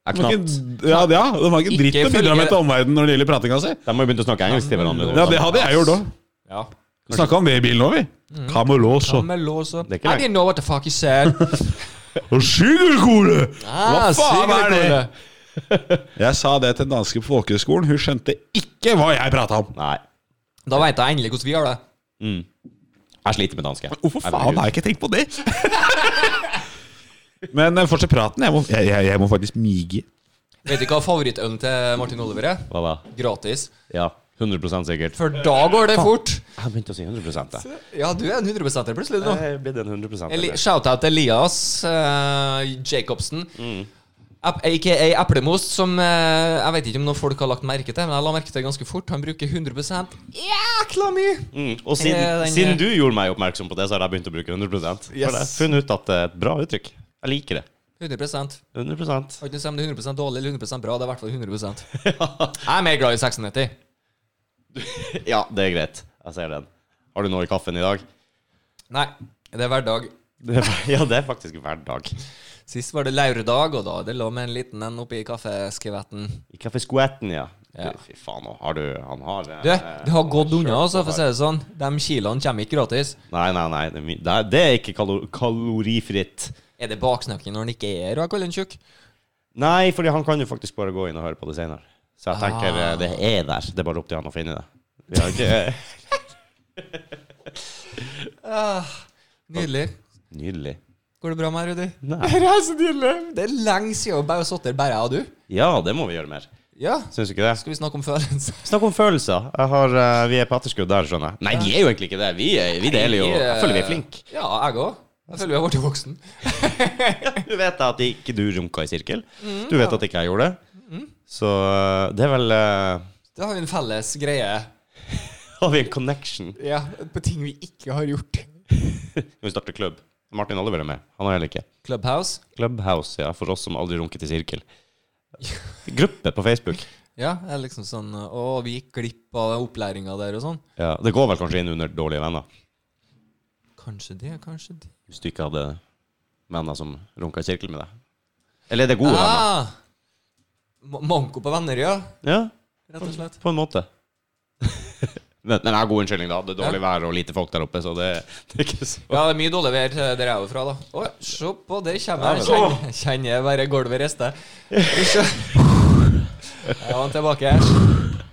Jeg De har knapt. ikke, ja, ja, de har ikke Ikke dritt å bidra følge- med til omverdenen når det gjelder pratinga si. De må jo begynne å snakke engelsk til hverandre. nå. Ja, det hadde jeg gjort òg. Ja. Snakka om det i bilen òg, vi. Kamelåso. Lås og Det er ikke I lenge. didn't know what the fuck he said. Og Sigurdkole! Hva Ah, faen er det? Sigurd Kolle. Jeg sa det til den danske folkehøgskolen. Hun skjønte ikke hva jeg prata om. Nei. Da veit jeg endelig hvordan vi gjør det. Jeg sliter med dansk. jeg. Hvorfor Jeg faen har jeg ikke tenkt på det? Men eh, fortsett praten. Jeg må, jeg, jeg, jeg må faktisk mige. Vet du hva favorittølen til Martin Oliver er? Hva da? Gratis. Ja, 100 sikkert. For da går det fort. Jeg begynte å si 100 jeg. Ja, du er en 100 plutselig nå. Jeg er blitt en 100 Eli- eller? Shout-out til Elias eh, Jacobsen. App- Aka Eplemos, som eh, jeg vet ikke om noen folk har lagt merke til, men jeg la merke til ganske fort. Han bruker 100 jækla mye! Mm. Og siden, Eh, den- siden du gjorde meg oppmerksom på det, så har jeg begynt å bruke 100 For jeg har Yes. funnet ut at det er et bra uttrykk. Jeg liker det. 100 Har 100 ikke noe å si om det er 100 dårlig eller 100 bra, det er i hvert fall 100 Jeg er mer glad i 96. Ja, det er greit. Jeg ser den. Har du noe i kaffen i dag? Nei, det er hverdag. Det er, ja, det er faktisk hver dag. Sist var det lørdag, og da det lå med en liten en oppi kaffeskvetten. I kaffeskvetten, ja. Ja. Fy faen, nå har du Han har eh, Du, det har gått unna, skjørt altså, på for å si her. det sånn. De kiloene kommer ikke gratis. Nei, nei, nei. Det er, mi- det er, det er ikke kalo kalorifritt. Er det baksnakking når han ikke er her, og jeg kaller han tjukk? Nei, fordi han kan jo faktisk bare gå inn og høre på det senere. Så jeg tenker Ah. eh, det er der. Det er bare opp til han å finne det. Vi har ikke Nydelig. Nydelig. Går det bra med deg, Rudi? Nei. Det er så nydelig. Det er lenge siden vi bare satt der, bare jeg og du. Ja, det må vi gjøre mer. Ja. Syns du ikke det? Skal vi snakke om følelser? Snakk om følelser. Jeg har, eh, vi er på etterskudd der, skjønner jeg. Nei, vi er jo egentlig ikke det. Vi, er, vi deler jo Jeg føler vi er flinke. Ja, jeg òg. Jeg føler vi har blitt voksen. Du vet at ikke du runka i sirkel. Du vet at ikke jeg gjorde det. Så eh, det er vel eh, Da har vi en felles greie Har vi en connection? Ja, på ting vi ikke har gjort. Når vi starter klubb. Martin Oliver er med. Han har heller ikke. Clubhouse. Clubhouse, ja. For oss som aldri runket i sirkel. Gruppe på Facebook. Ja, det er liksom sånn Å, vi gikk glipp av opplæringa der og sånn. Ja, det går vel kanskje inn under dårlige venner. Kanskje det, kanskje det. Hvis du ikke hadde venner som runka i sirkel med deg. Eller er det gode Ah, Ma- manko på venner, ja. venner? Ja. Rett og slett. På en måte. men, men jeg har god unnskyldning, da. Det er dårlig vær og lite folk der oppe, så det, det er ikke så Ja, det er mye dårlig vær eh, der jeg er jo fra, da. Å, se på, der kommer jeg. Ja, men- Kjenner, kjenner jeg bare gulvet rister. Jeg var tilbake.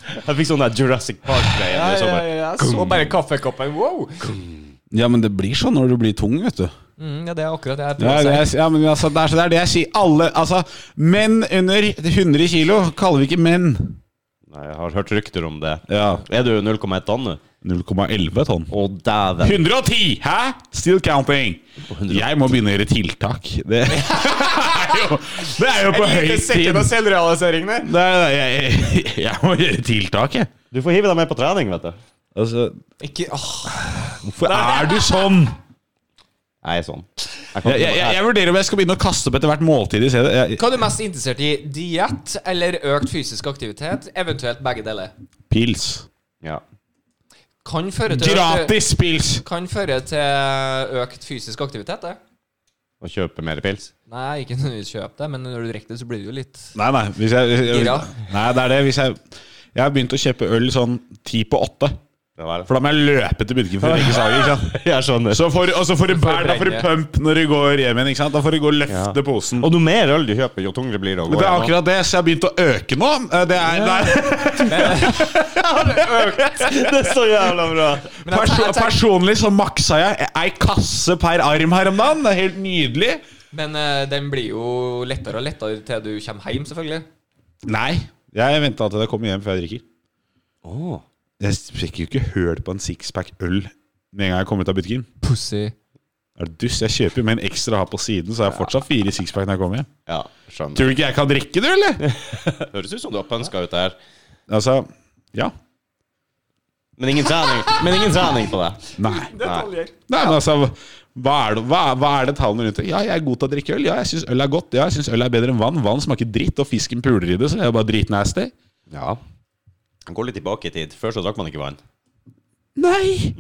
Jeg fikk sånn der Jurassic Park-greie. Ja, det er ja, sånn ja, jeg så bare kaffekoppen. Wow! Ja, men det blir sånn når du blir tung, vet du. Mm, ja, det er akkurat det jeg Ja, prøver det å si. er, ja, men altså, det, er, så- det er det jeg sier. Alle, altså, menn under 100 kilo kaller vi ikke menn. Nei, Jeg har hørt rykter om det. Ja, Er du 0,1 tonn nå? 0,11 tonn. Å, dæven. 110! Hæ? Still counting! Jeg må begynne å gjøre tiltak. Det er jo, det er jo på høy tid. selvrealisering der. Nei, nei, jeg, jeg må gjøre tiltak, jeg. Du får hive deg med på trening, vet du. Altså, Ikke, ah, åh. hvorfor er du sånn? Jeg er sånn. Jeg kan Jeg, jeg, jeg, jeg vurderer om jeg skal begynne å kaste opp etter hvert måltid i stedet. Jeg, Hva er du mest interessert i? Diett eller økt fysisk aktivitet? Eventuelt begge deler. pils. ja. Kan føre til Gratis pils! Kan føre til økt fysisk aktivitet, det. Og kjøpe mer pils. Nei, ikke nødvendigvis kjøp det, men når du drikker det, så blir det jo litt Nei, nei. Hvis jeg, jeg, Gira. nei, det er det. Hvis jeg, jeg har begynt å kjøpe øl sånn ti på åtte. Det var det. For da må jeg løpe til butikken for å legge sager. ikke sant? Jeg skjønner. Så får, og så får du bær, da får du Fortrenge. pump når du går hjem igjen. ikke sant? Da får du gå og løfte Ja. posen. Og jo mer øl du kjøper, jo tungere blir det å Men gå det er igjennom. akkurat det, så jeg har begynt å øke nå. Eh, Det er, det Det er så jævla bra. er perso Personlig så maksa jeg ei kasse per arm her om dagen. Det er helt nydelig. Men eh, den blir jo lettere og lettere til du kommer hjem, selvfølgelig. Nei, jeg venta til jeg kommer hjem før jeg drikker. Åh. Jeg sprekker jo ikke høl på en sixpack øl med en gang jeg kommer ut av butikken. Pussy. Er du dust? Jeg kjøper jo med en ekstra her på siden, så jeg har fortsatt fire sixpack når jeg kommer hjem. Ja, skjønner. Tror du ikke jeg kan drikke det, eller? Høres ut som du har pønska ut der. Altså, ja. Men ingen trening Men ingen trening på det. Nei. Nei. Nei, men altså hva er, det, hva, hva er det tallene rundt det? Ja, jeg er god til å drikke øl. Ja, jeg syns øl er godt. Ja, jeg syns øl er bedre enn vann. Vann smaker dritt, og fisken puler i det, så det er bare dritnasty. Ja. Han går litt tilbake i tid. Før så drakk man ikke vann. Nei!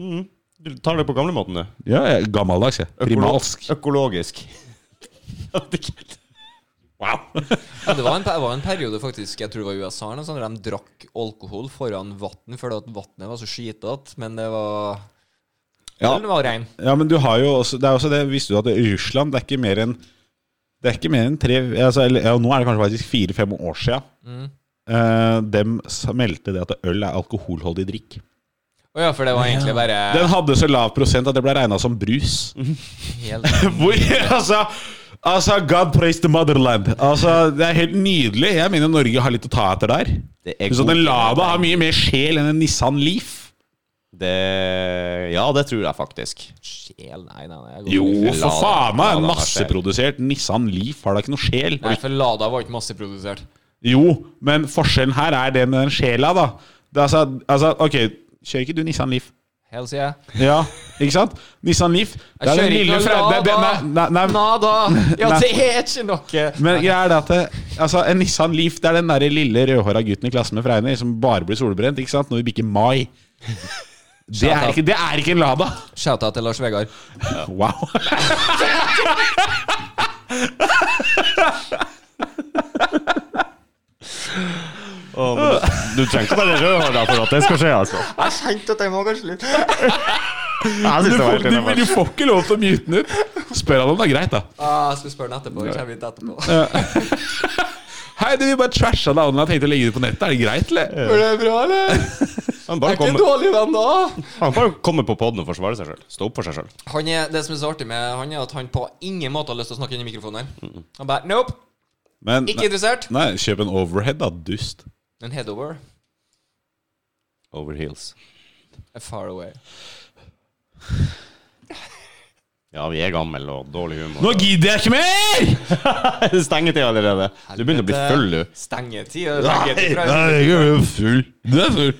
Du tar det på gamlemåten, du. Ja, jeg er gammeldags, jeg. Primalsk. Økologisk. Wow. Ja, det, var en, det var en periode, faktisk, jeg tror det var i USA, eller noe sånt, der de drakk alkohol foran vann fordi at vannet var så skitete, men det var Ja. Den var rein. Ja, men du har jo også Det er også det, visste du at i Russland det er ikke mer enn Det er ikke mer enn tre altså, eller, ja, Nå er det kanskje faktisk fire-fem år sia. Mm. dem meldte det at øl er alkoholholdig drikk. Å ja, for det var egentlig bare Den hadde så lav prosent at det ble regna som brus. Mm. helt Hvor, altså, altså God praise the motherland. Altså, Det er helt nydelig. Jeg mener Norge har litt å ta etter der. Det er Så god- den Lada har mye mer sjel enn en Nissan Leaf. Det Ja, det tror jeg faktisk. sjel Nei, nei, nei. jeg går Jo, ikke. Lada- for faen meg! Lada har Masseprodusert Nissan Leaf har da ikke noe sjel. Nei, for Lada var ikke masseprodusert. Jo, men forskjellen her er det med den sjela, da. Det er altså, altså, ok, kjører ikke du Nissan Leaf? Hell, sier jeg. Ja, ikke sant? Nissan Leaf det Jeg er den kjører ikke lille noe fra- det- det- Lada. nei, nei, nei, Nada! Ja, Nei. det er ikke noe! Men greia er det at det, altså, en Nissan Leaf Det er den der lille rødhåra gutten i klassen med Freiner som bare blir solbrent ikke sant? når vi bikker mai. Det er, ikke, det er ikke en Lada! Shouta til Lars Vegard. Wow. Å, men du, du trenger ikke være rødhåra for at det skal skje, altså. Jeg kjente at jeg må kanskje litt Jeg Du synes det får, var helt du, men du innenfor. får ikke lov til å mute den ut. Spør han om det er greit, da. ah, Jeg skal spørre den etterpå. Jeg kommer hit etterpå. Hei, du, vi bare trasha deg online. Tenkte å legge det på nettet. Er det greit, eller? Går det bra, eller? Han bare Jeg er ikke en kommer, dårlig venn da. han bare kommer på poden og forsvarer seg sjøl. Stå opp for seg sjøl. Han er, det som er så artig med han, er at han på ingen måte har lyst til å snakke inn i mikrofonen. her. Han bare Nope, Men, ikke interessert. nei, kjøp en overhead, da, dust. En headover. Over heels. A far away. Ja, vi er gamle og dårlig humor. Nå gidder jeg ikke mer! Stengetid allerede. Du begynner å bli full, du. Stengetid. og leggetid fra- jeg er full. Du er full.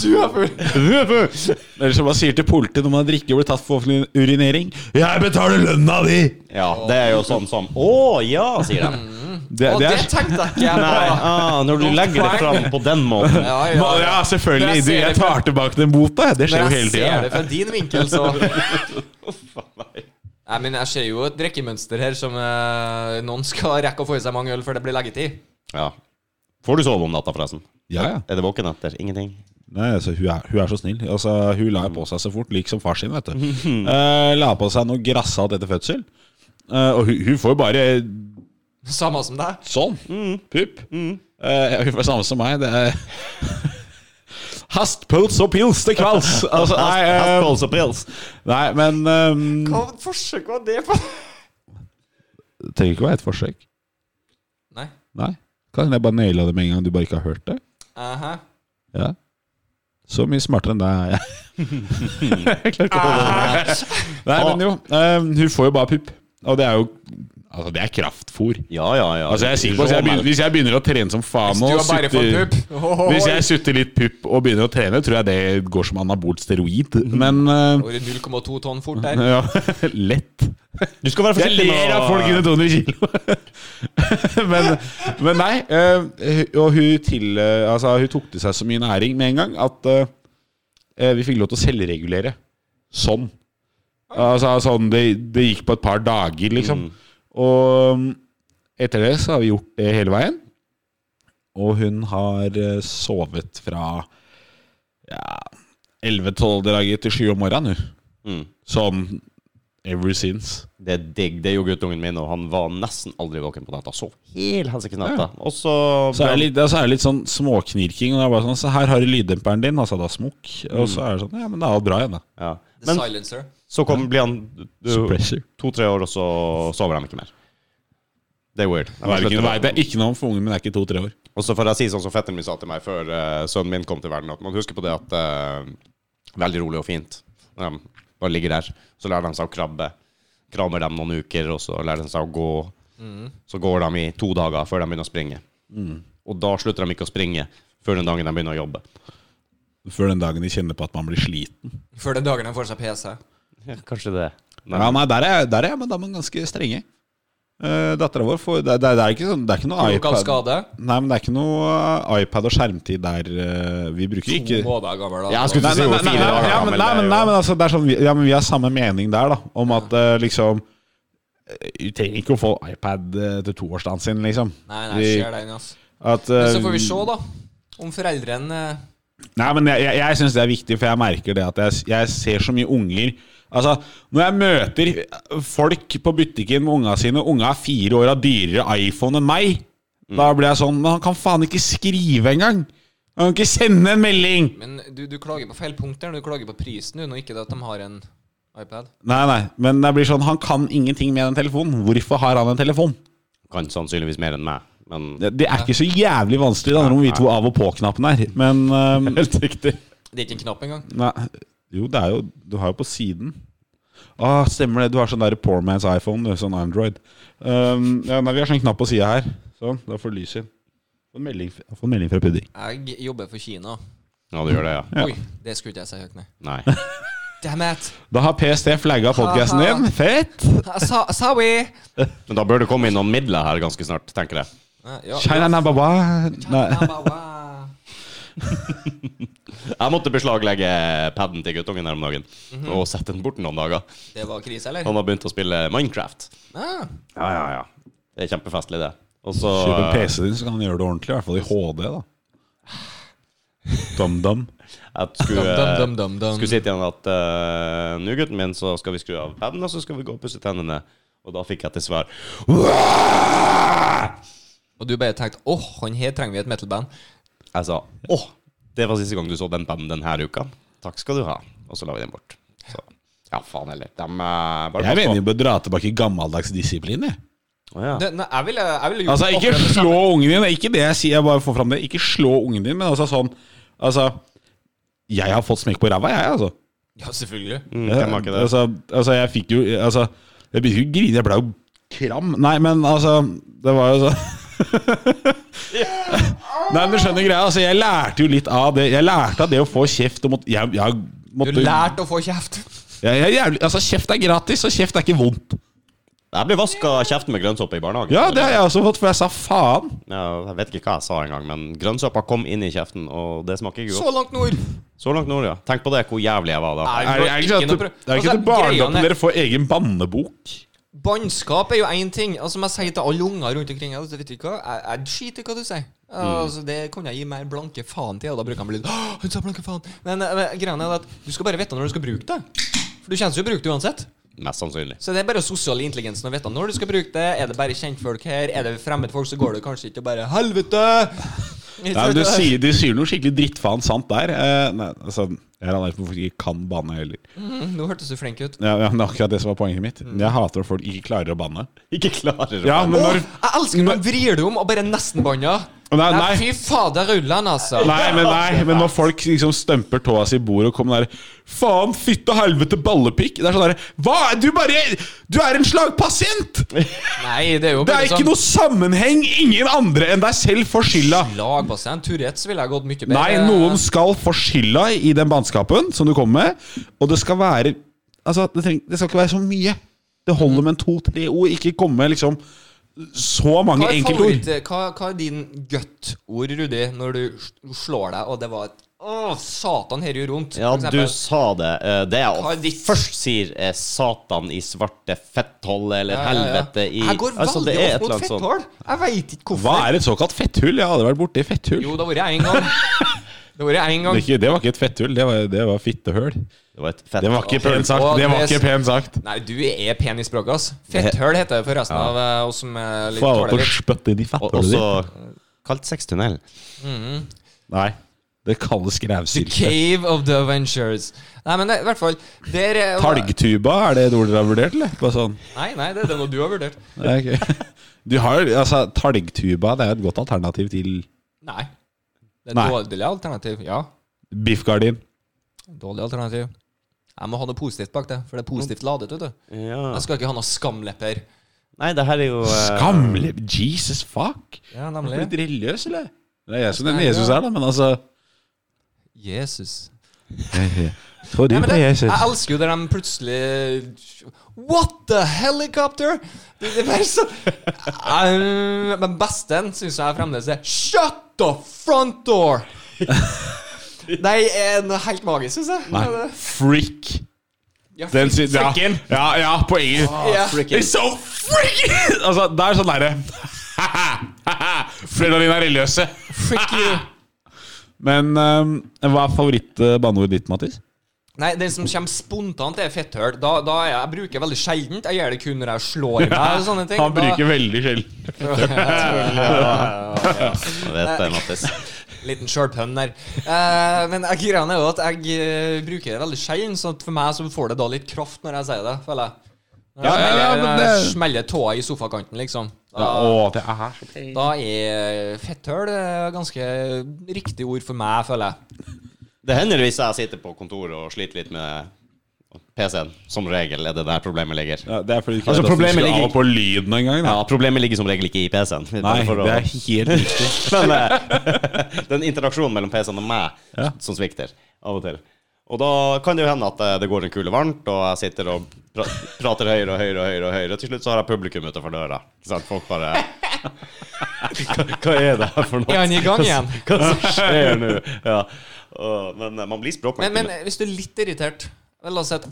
Du er full. Eller som man sier til politiet når man drikker og blir tatt for offentlig urinering. 'Jeg betaler lønna di!' Ja, det er jo sånn som Å ja, sier de. Det, Og det det er, tenkte jeg ikke jeg Nei, på. ah, når du legger det fram på den måten Ja, ja, ja, ja. Når jeg selvfølgelig. Du, ser jeg det fra- tar tilbake den bota. jeg. Det skjer Når jo jeg hele ser det tida. fra din vinkel, så Nei, men Jeg ser jo et drikkemønster her som eh, noen skal rekke å få i seg mange øl før det blir leggetid. Ja. Får du sove om natta, forresten? Ja, ja. Er det våken etter? Ingenting? Nei, altså, hun, er, hun er så snill. Altså, hun la på seg så fort, lik som far sin. vet du Eh, La på seg noe grassat etter fødsel. Eh, og hun, hun får jo bare Samme som deg. sånn. Pupp. Eh, hun får samme som meg. Det er Hast, pulse og pils til kvelds. Altså, nei, eh, Hestepåls og pils. nei, men ehm, Hva forsøk var det på? Det trenger ikke å være et forsøk. Nei. Nei. Kan hende jeg bare naila det med en gang du bare ikke har hørt det. Aha. Ja. Så mye smartere enn deg er jeg. jeg klarer ikke å holde det. Nei, men jo. eh, hun får jo bare pupp. Og det er jo Altså, det er kraftfôr. Ja, ja, ja. Altså, jeg er sikker på, hvis jeg, begynner, hvis jeg begynner å trene som faen nå Du har bare fått sutter- pupp. Ohohoi. Hvis jeg sutter litt pupp og begynner å trene, tror jeg det går som anabolt steroid. Men eh, Over 0,2 tonn fort der. ja, lett. Du skal Jeg være forsiktig ler av folk under 200 kilo. men, men nei. eh, og hun, til, eh, altså, hun tok til seg så mye næring med en gang at eh, vi fikk lov til å selvregulere. Sånn. Altså, sånn det, det gikk på et par dager, liksom. Og mm, etter det så har vi gjort det hele veien. Og hun har eh, sovet fra ja, 11-12 dager til 7 om morgenen, hun. Mm. Sånn ever since. Det er digg. Det gjorde guttungen min, og han var nesten aldri våken på natta. Sov hele helsikes natta. Og så Så er det litt, så er det litt sånn småknirking. Og det er bare sånn, så her har du lyddemperen din, altså da smokk. Og så er det sånn, ja, men det er alt bra igjen, da. ja. The Men silencer. så kom, blir han du- Suppressor. to-tre år, og så sover han ikke mer. Det er weird. Det er, ikke, det er ikke noe for ungen min, det er ikke to-tre år. Og så får jeg si sånn som fetteren min sa til meg før eh, sønnen min kom til verden, at man husker på det at eh, Veldig rolig og fint. Når de bare ligger der. Så lærer de seg å krabbe. Krammer dem noen uker, og så lærer de seg å gå. Mm. Så går de i to dager før de begynner å springe. Og da slutter de ikke å springe før den dagen de begynner å jobbe. Før den dagen de kjenner på at man blir sliten. Før den dagen han får seg PC. kanskje det. Ja, nei, der er, der er madammen ganske strenge. Uh, Dattera vår får det, det, det, er ikke sånn, det er ikke noe Lokal iPad skade. Nei, men det er ikke noe eh, iPad og skjermtid der eh, vi bruker To ikke måneder gammel. Ja, jeg Da. skulle- Nei, nei, nei, Fire nei, dager ja, men, gammel, nei, men, det er nei, jo- men altså, det er sånn, vi- ja, men vi har samme mening der, da. Om at eh, liksom eh, Du trenger ikke å få iPad eh, til toårsdagen sin, liksom. Nei, nei, Vi- ser den, altså. At, Men eh, så får vi se, da. Om foreldrene eh, Nei, men jeg, jeg, jeg syns det er viktig, for jeg merker det at jeg, jeg ser så mye unger Altså, Når jeg møter folk på butikken med unga sine, og unga er fire år og har dyrere iPhone enn meg, da Mm. blir jeg sånn Men han kan faen ikke skrive engang! Han kan ikke sende en melding! Men du, du klager på feil punkt der. Du klager på prisen, du, når ikke det at de har en iPad. Nei, nei, men det blir sånn han kan ingenting med den telefonen. Hvorfor har han en telefon? Kan sannsynligvis mer enn meg, men Det, det er ikke så jævlig vanskelig. Det handler om å vite hvor av- og på-knappen er. Men øhm, Helt riktig. Det er ikke en knapp engang. nei, Jo, det er jo Du har jo på siden. Ah, stemmer det. Du har sånn der poor man's iPhone. Du, sånn Android. Øhm, ja, nei, vi har sånn knapp på sida her. Sånn. Da får du lys inn. Få en melding, jeg får en melding fra Pudding. Jeg jobber for Kina. Ja, du gjør det, ja. Oi, det skulle ikke jeg si høyt, nei. Nei. Damn it! Da har PST flagga podkasten din. Fett! So, sorry! Men da bør det komme inn noen midler her ganske snart, tenker jeg. Ja, ja. China na baba. Nei. Nei. Jeg måtte beslaglegge paden til guttungen her om dagen, Mhm. og sette den bort noen dager. Det var krise, eller? Han har begynt å spille Minecraft. Ah, Ja, ja, ja. Det er kjempefestlig, det. Og så Kjøp en PC din, så kan han gjøre det ordentlig. I hvert fall i HD, da. Dum-dum. Jeg eh, skulle, Dum, dum, dum, dum, skulle dum. si til han at eh, nå, gutten min, så skal vi skru av paden, og så skal vi gå og pusse tennene. Og da fikk jeg til svar Og du bare tenkte åh, han her trenger vi et metalband. Jeg sa åh, det var siste gang du så den paden denne uka. Takk skal du ha. Og så la vi den bort. Så ja, faen heller. De eh, bare Jeg mener vi bør dra tilbake gammeldags disiplin. jeg. Å, ja. Det, nei, jeg ville, jeg ville gjort Altså, ikke akkurat det samme. slå ungen din. det er Ikke det jeg sier, jeg bare får fram det. Ikke slå ungen din, men altså sånn Altså, jeg har fått smekk på ræva, jeg, altså. Ja, selvfølgelig. Mm, hvem har ikke det? Altså, altså jeg fikk jo Altså, jeg begynte ikke å grine, jeg ble jo kram. Nei, men altså Det var jo så Nei, men du skjønner greia. Altså, jeg lærte jo litt av det. Jeg lærte av det å få kjeft og måtte Jeg, jeg Du måtte lærte å få kjeft. jeg, jeg, jævlig, Altså, kjeft er gratis, og kjeft er ikke vondt. Jeg ble vaska kjeften med grønnsåpe i barnehagen. Ja, det har jeg også fått, for jeg sa faen. Ja, jeg vet ikke hva jeg sa engang, men grønnsåpa kom inn i kjeften, og det smaker ikke Så godt. langt nord. Så langt nord, ja. Tenk på det, hvor jævlig jeg var da. Nei. Er det, er det ikke sånn at det, det er Altså, ikke til barndommen greiene- dere får egen bannebok? Bannskap er jo én ting. Altså, Som jeg sier til alle unger rundt omkring altså, vet du hva? Jeg, jeg skiter i hva du sier. Mm. Altså, Det kunne jeg gi mer blanke faen til, og da bruker han litt «Åh, Han sa blanke faen. Men eh, men greia er at du skal bare vite når du skal bruke det. For du kjennes jo å bruke det uansett. Mest sannsynlig. Så det er bare sosial intelligens å vite når du skal bruke det. Er det bare kjentfolk her? Er det fremmedfolk, så går det kanskje ikke og bare Helvete! Nei, men du sier, du sier noe skikkelig drittfaen sant der. Eh, nei, altså, Jeg er allergisk mot folk som ikke kan banne heller. Mm, nå hørtes du flink ut. Ja, ja, men det er akkurat det som var poenget mitt. Jeg hater at folk ikke klarer å banne. Ikke klarer å Mm. Ja, men Åh, når jeg elsker når de vrir det om og bare nesten banner. Nei, nei. Fy fader, ruller'n, altså. Nei, men, nei, men når folk liksom stemper tåa si i bordet og kommer der Faen, fytte helvete, ballepikk! Det er sånn der, Hva? Du bare Du er en slagpasient! Nei, det er jo Det er bare sånn ikke noe sammenheng! Ingen andre enn deg selv får skylda! Lag på seg en Tourettes ville jeg gått mye bedre. Nei, noen skal få skylda i den bannskapen som du kommer med, og det skal være Altså, det, treng, det skal ikke være så mye. Det holder med en to-tre ord. Ikke komme med liksom så mange hva er, enkeltord. favoritt, hva, hva er din gutt-ord, Rudi, når du s- slår deg, og det var et Å, satan, her gjør vondt? Ja, for eksempel? du sa det. Eh, Det Hva er jeg ditt? først sier, er 'Satan i svarte fetthål' eller Ja, ja, ja. 'helvete i Jeg går veldig Altså, det er et opp eller mot annet sånt. fetthål. Jeg veit ikke hvorfor. Hva er et såkalt fetthull? Jeg hadde vært borti fetthull. Jo, det har vært jeg en gang. Det har vært jeg en Det, gang. er ikke, det var ikke et fetthull, det var, det var fittehull. Det var et fett Det var ikke Å, pent sagt. Det var Agnes. ikke pent sagt. Nei, du er pen i språket, ass. Fetthøl heter det for resten av eh, oss som er litt Faen tåler at du litt. spyttet inn i Og fetthullet ditt. så kalt sextunnel. Nei. Det kalles The grevsylte. Cave of the Ventures. Nei, men det, i hvert fall der, eh, Talgtuba, er det et ord dere har vurdert, eller? Bare sånn. Nei, nei, det er det noe du har vurdert. Ja, ok. Du har, altså, talgtuba det er jo et godt alternativ til Nei. Det er Nei. dårlig alternativ. Ja. biffgardin. Dårlig alternativ. Jeg må ha noe positivt bak det, for det er positivt ladet, vet du. Ja. Jeg skal ikke ha noe skamlepper. Nei, det her er jo eh, Skamle... Jesus fuck! Ja, Har du nemlig. blitt religiøs, eller? Det er jeg som nevner Jesus her, da, men altså Jesus. Tror Nei, men det, jeg elsker jo der de plutselig What the helicopter? Det, det er bare så um, Men besten syns jeg fremdeles er Shut the front door! Nei, eh, noe helt magisk, syns jeg. Nei. Freak. Ja, Den sier ja. frikken. ja, ja, på engelsk. Ja. It's so freaking Altså, det er sånn derre Flere av dine er religiøse. Frick you. Men um, hva er favoritt-banneordet ditt, Mattis? Nei, den som kommer spontant, er fetthøl. Da, da er jeg, jeg bruker veldig sjeldent. Jeg gjør det kun når jeg slår meg og sånne ting. Han Da- bruker veldig sjelden. Jeg vet det, Mattis. Liten sjølpønn der. Eh, men jeg- greia er jo at jeg eh, bruker det veldig sjelden, så at for meg så får det da litt kraft når jeg sier det, føler jeg. Når Ja, jeg ja, ja, men smeller- det- Smeller tåa i sofakanten, liksom. Ja, Da, å, det er så da er fetthøl eh, ganske riktig ord for meg, føler jeg. Det hender hvis jeg sitter på kontoret og sliter litt med PC-en. Som regel er det der problemet ligger. ja, Det er fordi du ikke Altså, vet at du problemet skulle ligger- av på lyden engang. Ja, Problemet ligger som regel ikke i PC-en. Nei, Bare for å- det er helt riktig. Men eh, den interaksjonen mellom PC-en og meg som svikter av og til. Og da kan det jo hende at eh, det går en kule varmt, og jeg sitter og pra prater høyere og høyere og høyere. og høyere. Til slutt så har jeg publikum utenfor døra. Ikke sant? Folk bare hva, hva er det her for noe? Er han i gang igjen? Hva som skjer nå? Ja. Og, men eh, man blir språkmektig. Men, men hvis du er litt irritert vel, La oss si at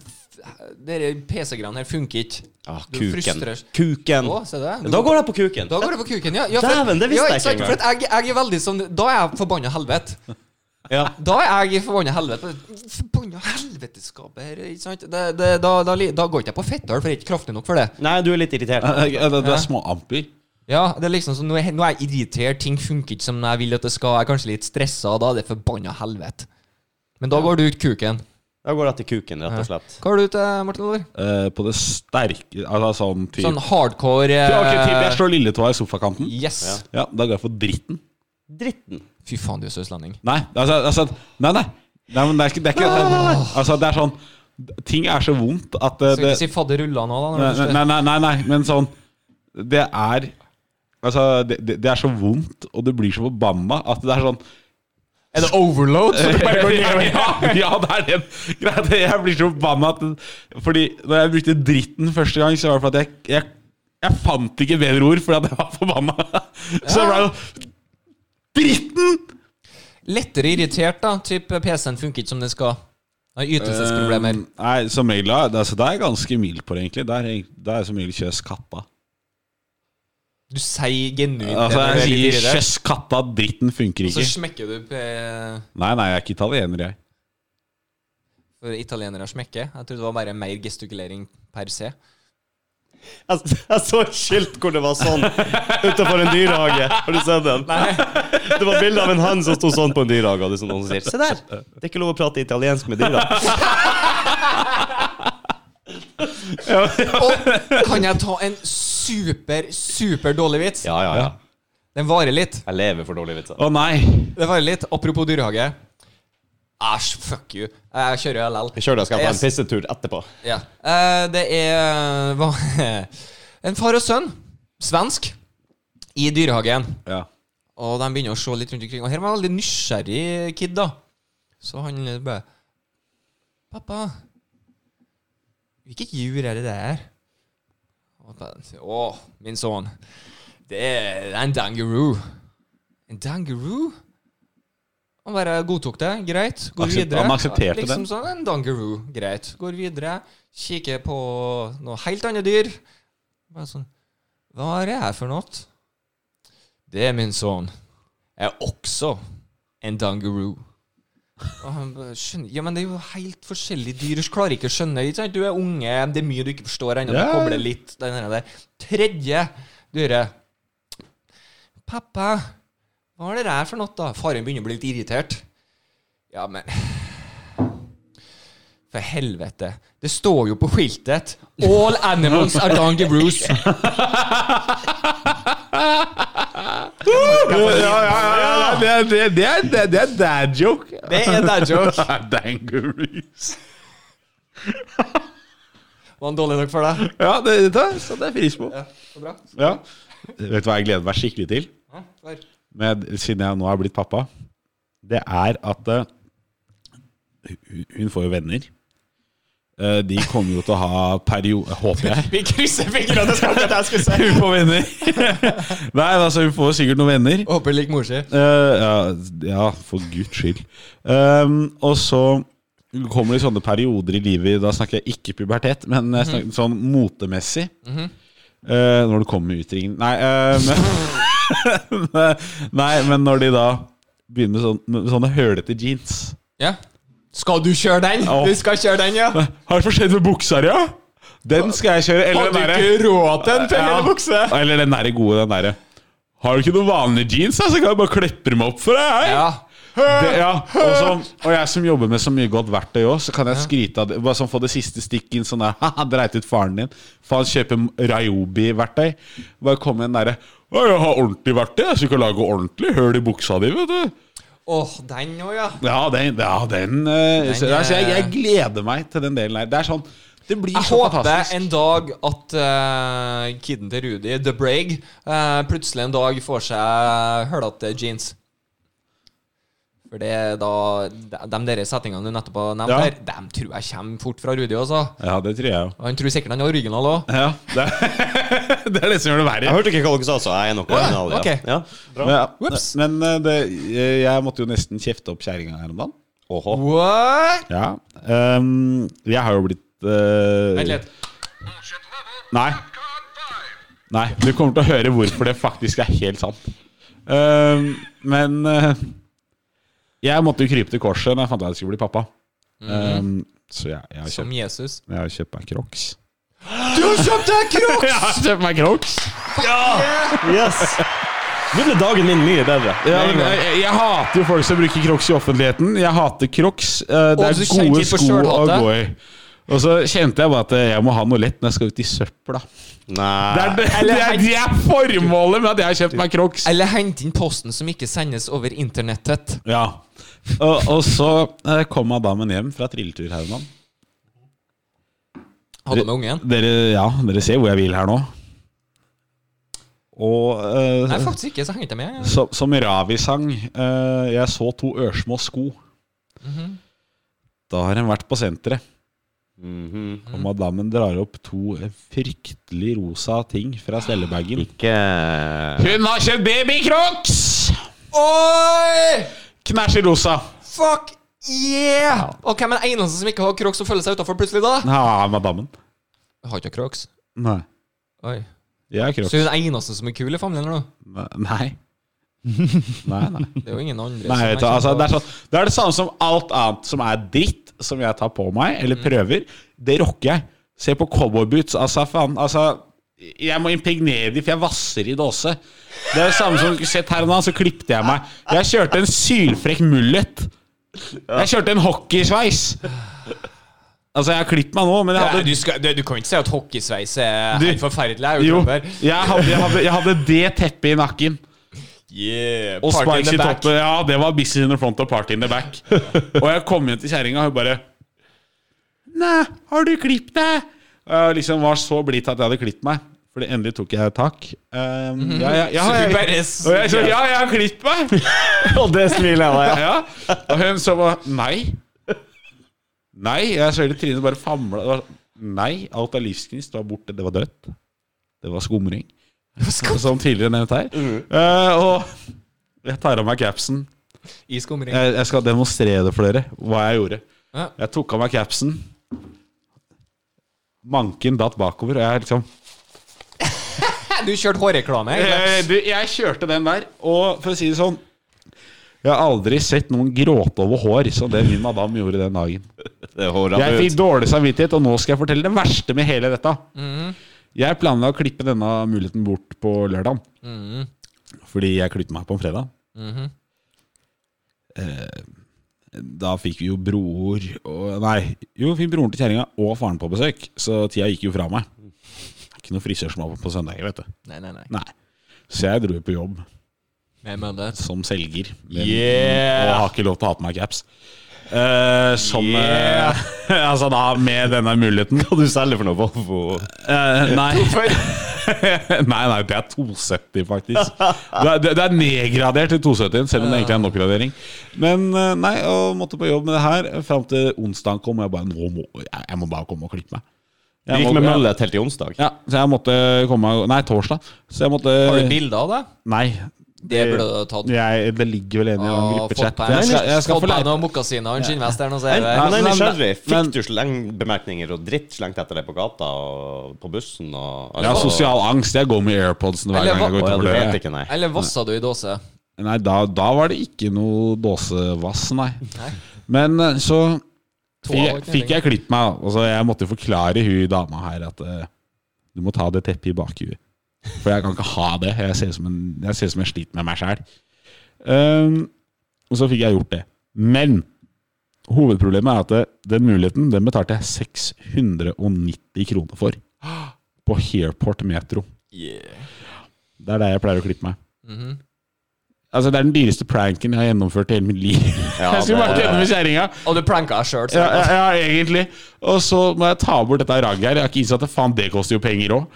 dere PC-greiene her funker ikke. ah, du kuken. frustrerer- Kuken. Å, se det. Du- Da går jeg på kuken. Da går det på kuken, ja. ja Dæven, det visste ja, jeg sant, ikke For at jeg, jeg er veldig sånn Da er jeg forbanna helvete. Ja. Da er jeg i forbanna helvete. Forbanna helveteskaper, ikke sant? Det, det, da, da, li- da går ikke jeg på fettøl, for jeg er ikke kraftig nok for det. Nei, du er litt irritert. Ja, det, det er små amper. Ja, det er liksom sånn, nå, er, nå er jeg irritert, ting funker ikke som jeg vil at det skal, jeg er kanskje litt stressa, da er det forbanna helvete. Men da går du ut kuken. Da går jeg til kuken, rett og slett. Hva har du til, Martin Olver? eh, på det sterke Altså sånn typ Sånn hardcore eh, Ja, ok, typ, Jeg slår lilletåa i sofakanten. Yes. Ja, Da går jeg for dritten. Dritten. Fy faen, du er søslending. Nei, altså, altså Nei, nei. nei men det er ikke, det er ikke Altså, det er sånn Ting er så vondt at eh, Skal det, ikke si fadderulla nå, da? Når nei, du skal- nei, nei, nei, nei, men sånn Det er Altså, det, det det er så vondt, og du blir så forbanna at det er sånn Er det overload? Så du bare går ned og ja, ja, det er den greia. det- Jeg blir så forbanna at Fordi når jeg brukte dritten første gang, så var det fordi jeg, jeg, jeg fant ikke bedre ord fordi at jeg var forbanna. Så det ble jo Dritten! lettere irritert, da. Type PC-en funker ikke som den skal. Har ytelsesproblemer. Um, Nei, som regel er det, altså, det er jeg ganske mild på det, egentlig. Det er, egent- det er som regel kjøs katta. Du sier genuint Altså, det, når du er jeg litt sier irritert, kjøss katta, dritten funker og så ikke. smekker du på Nei, nei, jeg er ikke italiener, jeg. For italienere smekker. Jeg trodde det var bare mer gestikulering per se. Jeg, jeg så et skilt hvor det var sånn utenfor en dyrehage. Har du sett den? Det var bilde av en hann som sto sånn på en dyrehage. Og det er sånn noen som sier Se der! Det er ikke lov å prate italiensk med dyra. Og kan jeg ta en super, super dårlig vits? Ja, ja, ja. Den varer litt. Jeg lever for dårlige vitser. Å nei! Den varer litt. Apropos dyrehage. Æsj, fuck you. Jeg kjører LL. Kjør deg, skal jeg ta en pissetur etterpå. Ja. Eh, det er eh, hva, en far og sønn, svensk, i dyrehagen. Ja. Og de begynner å se litt rundt omkring. Og her var en veldig nysgjerrig kid, da. Så han bare 'Pappa, hvilket dyr er det der?' Og han bare 'Å, min sønn, det er det er en dangeroo'. En dangeroo? Han bare godtok det. Greit. Går Aksept- videre. han aksepterte liksom den. sånn en dangeroo. Greit. Går videre. Kikker på noe helt annet dyr. Bare sånn Hva er det her for noe? Det, min sønn, er også en dangeroo. Og han bare skjønner Ja, men det er jo helt forskjellige dyr. Du klarer ikke å skjønne. Ikke sant? Du er unge, det er mye du ikke forstår ennå. Du Ja. kobler litt den der. der. Tredje dyret. Pappa, hva er det der for noe, da? Faren begynner å bli litt irritert. Ja, men For helvete. Det står jo på skiltet 'All animals are dangeroos'. Ja, ja, ja, ja. Det, er- det, det, er- det, det er dad joke. Det er dad joke. Dangarees. Var han dårlig nok for deg? Ja, det, det, så det er pris på. Så bra. Ja. Vet du hva jeg gleder meg skikkelig til? Ja, klar. Med, siden jeg nå er blitt pappa. Det er at eh, hun- hun får jo venner. Eh, De kommer jo til å ha periode Håper jeg. Vi krysser fingrene! Det skal ikke at jeg skulle si Hun får venner. Nei, altså, hun får sikkert noen venner. Håper det liker mor si. Eh, ja, ja, for guds skyld. Ehm, og så kommer det sånne perioder i livet Da snakker jeg ikke pubertet, men jeg Mhm. snakker sånn motemessig. Eh, når det kommer utringning Nei, eh, men, nei, men når de da begynner med, sånn, med sånne hølete jeans. Ja. Skal du kjøre den? Ja. Du skal kjøre den, ja? Har det skjedd med buksa di, ja? Den skal jeg kjøre. Eller Hadde du den derre ikke råd til en fengende bukse? Eller den derre gode, den derre Har du ikke noen vanlige jeans, da, så kan jeg bare klippe dem opp for deg? hei?» Ja. Det, ja, og, så, og jeg som jobber med så mye godt verktøy òg, så kan jeg skryte av det. Bare sånn få det siste stikk inn sånn der Haha, dreit ut faren din. Faen, kjøpe Rayobi-verktøy. Bare komme inn derre Å, jeg har ordentlig verktøy, jeg, så du kan lage ordentlig høl i buksa di, vet du. Åh, den òg, ja. Ja, den, ja, den, eh, Den, så, altså, jeg, jeg eh, gleder meg til den delen her. Det er sånn Det blir Jeg så håper fantastisk. en dag at eh, kiden til Rudi, The Brag, eh, plutselig en dag får seg hølete jeans. For det er da de- De der setningene du nettopp har nevnt Ja. her, dem tror jeg kommer fort fra Rudi også. Ja, det tror jeg jo. Og han tror sikkert han er original òg. Ja, det, det er det som gjør det verre. Jeg hørte ikke hva dere sa, så jeg er nok original. ok. Ja. Ja. Men, ja, Whoops. men eh, det, eh, jeg måtte jo nesten kjefte opp kjerringa her om dagen. Åhå. What? Ja. ehm, jeg har jo blitt eh, Vent litt. Bullshit level. Nei. Capcom 5. Nei, du kommer til å høre hvorfor det faktisk er helt sant. Ehm, men eh, jeg måtte jo krype til korset når jeg fant ut at jeg skulle bli pappa. Mhm. Ehm, så jeg, jeg, har Som kjøpt, Jesus. jeg har kjøpt meg Crocs. Du kjøpte krok! Jeg har kjøpt meg Crocs! Yes! Nå ble dagen min mye bedre. Ja, men jeg, jeg, jeg hater jo folk som bruker Crocs i offentligheten. Jeg hater Crocs. Eh, det Og er du kjenner gode litt på sko å sjølhatet. gå i. Og så kjente jeg bare at eh, jeg må ha noe lett når jeg skal ut i søpla. Det Nei. er, det, det, er, det er formålet med at jeg har kjøpt meg Crocs. Eller hent inn posten som ikke sendes over internettet. Ja. Og, og så eh, kom Adamen hjem fra trilletur, Herman. Hadde med ungen. Dere, ja, dere ser hvor jeg vil her nå. Og eh, Nei, faktisk ikke. Så hengte jeg med. som, som Ravi sang eh, Jeg så to ørsmå sko. Mhm. Da har en vært på senteret. Mhm. Og madammen drar opp to eh, fryktelig rosa ting fra stellebagen. Ikke Hun har kjøpt babycrocs! Oi! Knæsj rosa. Fuck yeah! Og hvem er den eneste som ikke har crocs og føler seg utafor plutselig, da? Ja, madammen. Jeg har ikke crocs. Nei. Oi. Jeg har Så hun crocs. er den eneste som er kul i familien, eller noe? Nei. Nei, nei. Det er jo ingen andre Nei, vet du, som altså, det, er sånn, det er det samme som alt annet som er dritt, Mm. som jeg tar på meg, eller prøver. Det rocker jeg. Se på cowboyboots. Altså, faen. Altså, Jeg må impregnere de, for jeg vasser i dåse. Det er det samme som sett her og nå, så klippte jeg meg. Jeg kjørte en sylfrekk mullet. Jeg kjørte en hockeysveis. Altså, jeg har klippet meg nå, men jeg Nei, hadde du, skal, du, du kan ikke si at hockeysveis er Du- helt forferdelig. Jeg er jo Jo, trønder. jeg hadde, jeg hadde, jeg hadde det teppet i nakken. Yeah, Og party in spikes the i back. toppen. Ja, det var business in the front og party in the back. Og jeg kom hjem til kjerringa, og hun bare Nei, har du klippet deg? Og jeg liksom var så blid til at jeg hadde klippet meg. For endelig tok jeg tak. Um, ja, ja, ja, Mhm. Så du jeg, bare s- og jeg sa ja, jeg har klippet meg. Og det smiler jeg av. ja. Ja. Og hun så bare nei. Nei. Jeg så hele trynet bare famla. Det var- Nei, alt av livsgnist var borte. Det var dødt. Det var skumring. Som tidligere nevnt her. Mhm. Eh, og jeg tar av meg capsen. I skumring. Jeg, jeg skal demonstrere for dere hva jeg gjorde. Ja. Jeg tok av meg capsen. Manken datt bakover, og jeg liksom Du kjørte hårreklame? egentlig. jeg, Eh, du, jeg kjørte den der, og for å si det sånn Jeg har aldri sett noen gråte over hår som det min madam gjorde den dagen. Det er håret Jeg fikk ut. dårlig samvittighet, og nå skal jeg fortelle det verste med hele dette. Jeg planla å klippe denne muligheten bort på lørdag, Mm-hmm. fordi jeg klippet meg på en fredag. eh, da fikk vi jo bror og Nei, jo, vi fikk broren til kjerringa og faren på besøk, så tida gikk jo fra meg. Det er ikke noe frisør som er på på søndager, vet du. Nei, nei, nei. Nei. Så jeg dro jo på jobb Med møndet. som selger. Men, Yeah! Og har ikke lov til å ha på meg caps. Eh, som eh, Altså da, med denne muligheten. Hva du selger for noe Volvo? Eh, nei. nei, nei, det er 270 faktisk. Det er, det, det er nedgradert til 270, selv om det egentlig er en oppgradering. Men eh, nei, og måtte på jobb med det her fram til onsdagen kom. Og jeg bare Nå må jeg, jeg må bare komme og klippe meg. Du Jeg gikk må- med møllet helt til onsdag. Ja, så jeg måtte komme meg Nei, torsdag. Så jeg måtte Har du bilde av det? Nei. Det burde du ha tatt. Jeg, det ligger vel en i en Og fått gruppechat. på en- Jeg skal, jeg skal fått få på en leite av mokasinene, skinnvesteren og så er Men, det- men jeg er men- nysgjerrig. men- Fikk du sleng bemerkninger og dritt slengt etter deg på gata og på bussen? Og, Jeg har sosial angst. Jeg går med airpodsen hver Eller gang hva- jeg Å, går ja, du utover vet døra. ikke, nei. Eller vassa du i dåse? Nei, da, da var det ikke noe dåsevass, nei. Men eh, så fikk, fikk jeg klippet meg. Altså, jeg måtte jo forklare hun dama her at eh, du må ta det teppet i bakhuet. For jeg kan ikke ha det. Jeg ser ut som, en- jeg ser ut som jeg sliter med meg sjæl. Um, og så fikk jeg gjort det. Men hovedproblemet er at det, den muligheten den betalte jeg 690 kroner for. På Hairport Metro. Det er der jeg pleier å klippe meg. Altså Det er den dyreste pranken jeg har gjennomført i hele mitt liv. Ja, jeg skulle det- vært hjemme med kjerringa. Og du pranka deg sjøl, Ja, ja, ja, egentlig. Og så må jeg ta bort dette ragget her. Jeg har ikke innsett at faen, det koster jo penger òg.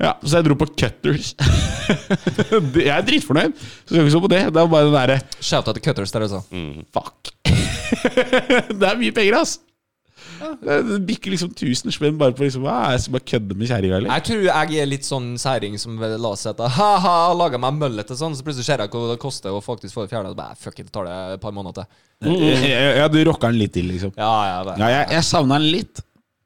Ja, så jeg dro på Cutters. Det- jeg er dritfornøyd. Så skal ikke stå på det. Det er bare den derre Shouta til Cutters der, altså. Fuck. det er mye penger, ass. Det bikker liksom 1000 spenn bare på liksom, hva, jeg skal bare kødde med kjerringa, eller? Jeg tror jeg er litt sånn særing som la seg etter Ha-ha, laga meg møllete sånn, så plutselig ser jeg hvor det koster å faktisk få det fjerna. Bare fuck it, det tar det et par måneder til. Ja, ja, du rocka den litt til, liksom. Ja, ja, det Ja, jeg, jeg savna den litt,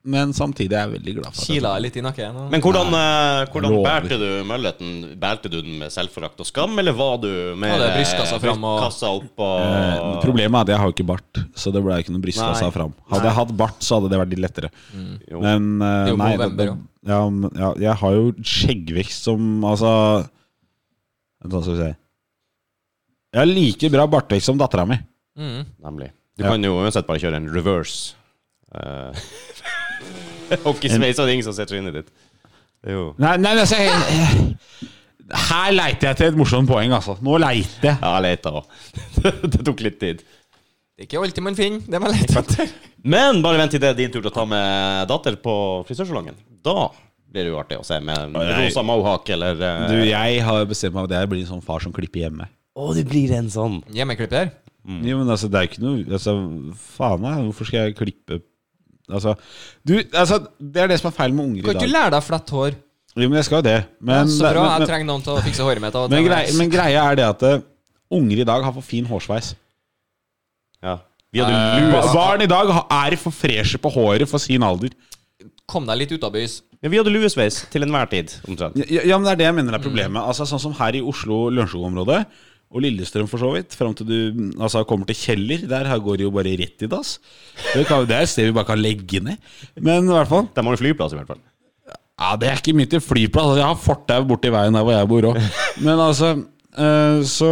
men samtidig er jeg veldig glad for det. Kila litt i nakken. og- Men hvordan, eh, hvordan Lover. bærte du mølleten? Bærte du den med selvforakt og skam, eller var du med Hadde brystkassa fram og- brystkassa opp Eh, og Problemet er at jeg har jo ikke bart, så det ble ikke noe brystkasse Nei. fram. Hadde jeg hatt bart, så hadde det vært litt lettere. Jo. Men eh, Det er jo nei, november, det, det, ja, men- ja, jeg har jo skjeggvekst som altså Vent, Hva skal vi si Jeg har like bra bartvekst som dattera mi. Mm. Nemlig. Du Ja. kan jo uansett bare kjøre en reverse. Uh, Hockeysveis og det er ingen som setter inn i ditt. Det er Jo. Nei, nei, altså jeg- Her leiter jeg til et morsomt poeng, altså. Nå leiter jeg. Ja, jeg leita òg. det tok litt tid. Det er ikke alltid man finner det man leter etter. Men bare vent til det er din tur til å ta med datter på frisørsalongen. Da blir det jo artig å se med en nei. rosa mohawk eller eh, Du, jeg har bestemt meg for at jeg blir en sånn far som klipper hjemme. Å, du blir en sånn. Hjemmeklipper? Jo, men altså, det er ikke noe altså, Faen, nei, hvorfor skal jeg klippe Altså, du, altså Det er det som er feil med unger Kan i ikke du dag. lære deg flett hår? Jo, men jeg skal jo det. Ja, Men, så bra, jeg men, men, trenger noen til å fikse håret mitt. og- men, grei, men greia er det at eh, unger i dag har for fin hårsveis. Ja. Vi hadde Ba- lue Barn i dag ha- er for freshe på håret for sin alder. Kom deg litt ut av bys. Men vi hadde luesveis til enhver tid, omtrent. Ja, ja, men Det er det jeg mener er problemet. Altså Sånn som her i Oslo Lørenskog-området, og Lillestrøm for så vidt, fram til du mm, altså, kommer til Kjeller. Der her går det jo bare rett i dass. Det, kan, det er et sted vi bare kan legge ned. Men i hvert fall De har en flyplass, i hvert fall. Ja, det er ikke mye til flyplass. Altså, Jeg har fortau borti veien der hvor jeg bor òg. Men altså, eh, så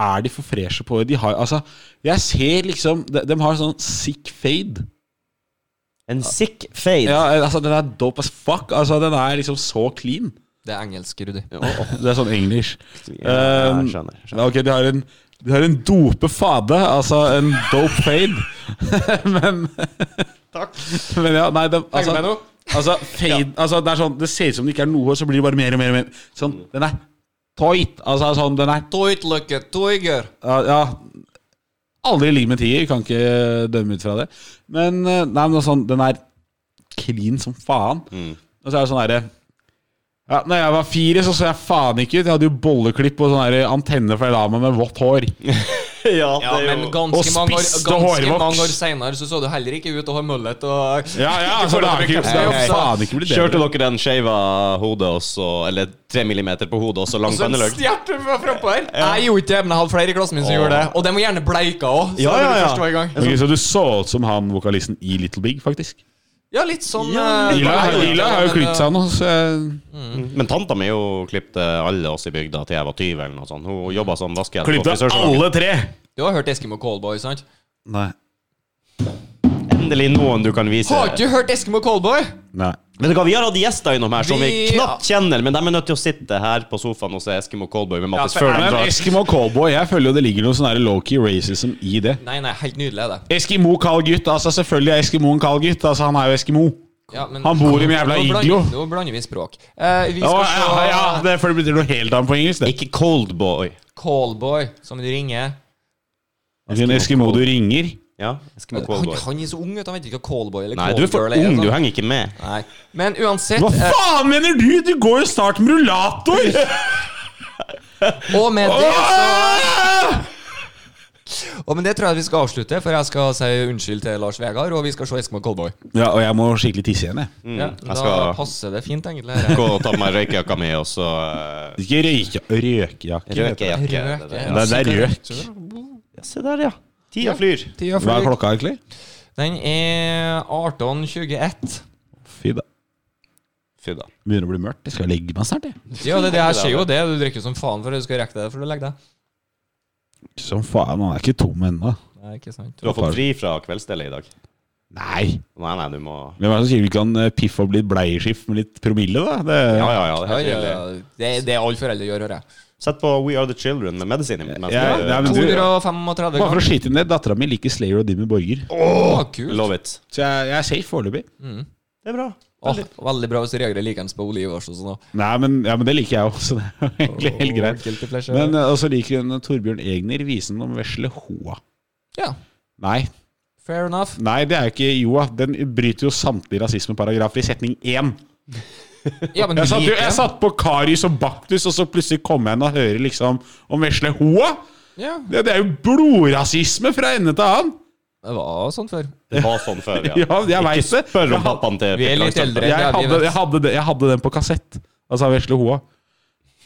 er de for freshe på De har altså Jeg ser liksom De, de har sånn sick fade. En sick fade. Ja, eh, altså Den er dope as fuck. Altså Den er liksom så clean. Det er engelsk, Rudi. Det er sånn English. Ja, jeg skjønner, jeg skjønner. Ja, ok, de har en de har en dope fade, altså en dope fade. men Takk. Men ja, nei, det, altså, meg nå. altså, fade, altså Det er sånn Det ser ut som det ikke er noe, så blir det bare mer og mer. Og mer. Sånn, Den er tight. Altså sånn, den er Teutløkke, Teuger. Ja, ja Aldri ligg med tier, kan ikke dømme ut fra det. Men eh, nei, men det er sånn, den er clean som faen. Og så er det sånn derre ja, når jeg var fire, så så jeg faen ikke ut. Jeg hadde jo bolleklipp og sånn der antenne for jeg la meg med vått hår. Ja, Ja, det er men jo- ganske Og mange år, spiste ganske hårvoks. mange år senere så så du heller ikke ut og har møllet og Ja, ja, altså, det har ikke, det har jo faen ikke blitt Kjørte bedre. dere den skeiva hodet også, eller tre millimeter på hodet også, lang Så en penneløgg? stjerte fra frampå her. Jeg gjorde ikke det, men jeg hadde flere i klassen min som Åh. gjorde det. Og de var gjerne bleika òg. Ja, ja, ja. Ok, så du så ut som han vokalisten i Little Big, faktisk. ja, litt sånn Ja, eh, Ila, Ila har jo klippet seg nå, så jeg Men tanta mi jo klippte alle oss i bygda til jeg var 20 eller noe sånt. Hun jobba som vaskehjelp. på Klippet frisørsalongen. alle tre! Du har hørt Eskimo Callboy, sant? Nei. Endelig noen du kan vise. Har ikke du hørt Eskimo Callboy? Nei. Vet du hva, Vi har hatt gjester innom her som vi Vi- knapt kjenner, men de er nødt til å sitte her på sofaen og se Eskimo Callboy med Mattis Ja, for- før de Men drar. Eskimo Callboy, jeg føler jo det ligger noe sånn her low-key racism i det. Nei, nei, helt nydelig er det. Eskimo kald gutt, altså selvfølgelig er Eskimo en kald gutt. Altså Han er jo Eskimo. Ja, men- Han bor i en jævla Nå blander- iglo. Nå blander vi språk. Eh, vi Å, skal ja, se ja, det er for det betyr noe helt annet på engelsk. Det. Ikke Coldboy. Callboy, som du ringer. Altså, en Eskimo du ringer. Ja, Eskimo Eh, Han, Callboy. han er så ung, vet du. Han vet ikke hva Callboy eller Nei, du er for Callgirl ung, du sånn. henger ikke med. Nei. Men uansett, Hva eh, faen mener du?! Du går jo snart med rullator! og med det så Åh! Og med det tror jeg vi skal avslutte, for jeg skal si unnskyld til Lars Vegard, og vi skal se Eskimo Callboy. Ja, og jeg må skikkelig tisse igjen, Mm. jeg. ja, da Mm, jeg skal- passer det fint, egentlig. dette. Gå og ta på meg røykejakka mi, og så eh, Ikke røyke, røykejakke. heter det. Røykejakke. Røk, det ja. der. Det, det er røk. Ja, Se der, ja. Tida flyr. Tida Hva er flyr. klokka egentlig? Den er 18.21. Fy da. Fy da. Begynner å bli mørkt. Jeg skal legge meg snart, jeg. Ja, det, det her skjer jo det. Du drikker som faen for at du skal rekke deg for å legge deg. Som faen, han er ikke tom ennå. Nei, ikke sant. Du har fått fri fra kveldsstellet i dag. Nei. Nei, nei, du må Hvem er det som sier vi kan eh, piffe opp litt bleieskift med litt promille, da? Det, Ja, ja, ja. Ja, ja, Det er helt ja. tydelig. Det, det er alle foreldre gjør, hører jeg. Sett på We Are The Children med medisin. mens Ja, du- nei, men du- 235 Bare for ganger. å skyte inn det, dattera mi liker Slayer og Dimmy Borger. Å, kult. Love it. Så jeg, jeg er safe foreløpig. Det er bra. Åh, veldig bra hvis du reagerer likeens på Ole Ivars og sånn. også. Nei, men, ja, men det liker jeg òg, så det er jo egentlig helt greit. Guilty pleasure. Men eh, også liker hun Torbjørn Egner, visen om vesle Hoa. Ja, Nei, fair enough. nei, det er jo ikke Joa. Den bryter jo samtlige rasismeparagrafer i setning én. Ja, men du Jeg satt, jo, liker jeg det. satt på Karius og Baktus, og så plutselig kom jeg inn og hører liksom om vesle Hoa. Ja, Det, det er jo blodrasisme fra ende til annen! det var sånn før. Det var sånn før, ja. Ja, jeg veit det. Spør Jeg om pappaen til Vi er litt Pippi Langstrømpe. eldre. jeg, Ja, vi hadde, vet. jeg, hadde det, jeg hadde den på kassett. Altså av vesle Hoa.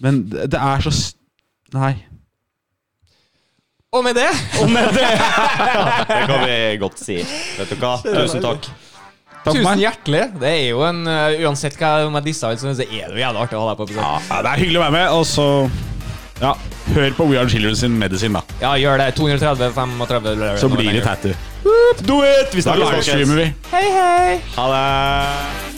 Men det, det er så s- Nei. Og med det Det kan vi godt si. Vet du hva? Tusen takk. Takk for Tusen meg. hjertelig. Det er jo en uh, Uansett hva om jeg disser ut, så er det jo jævlig artig å ha deg på besøk. Ja, det er hyggelig å være med, og så Ja, hør på We Are Children sin medisin, da. Ja, gjør det. 230, 35 Så blir det tattoo. Do it! Vi Da snakkes, folkens. livestreamer vi. Hei, hei. Ha det.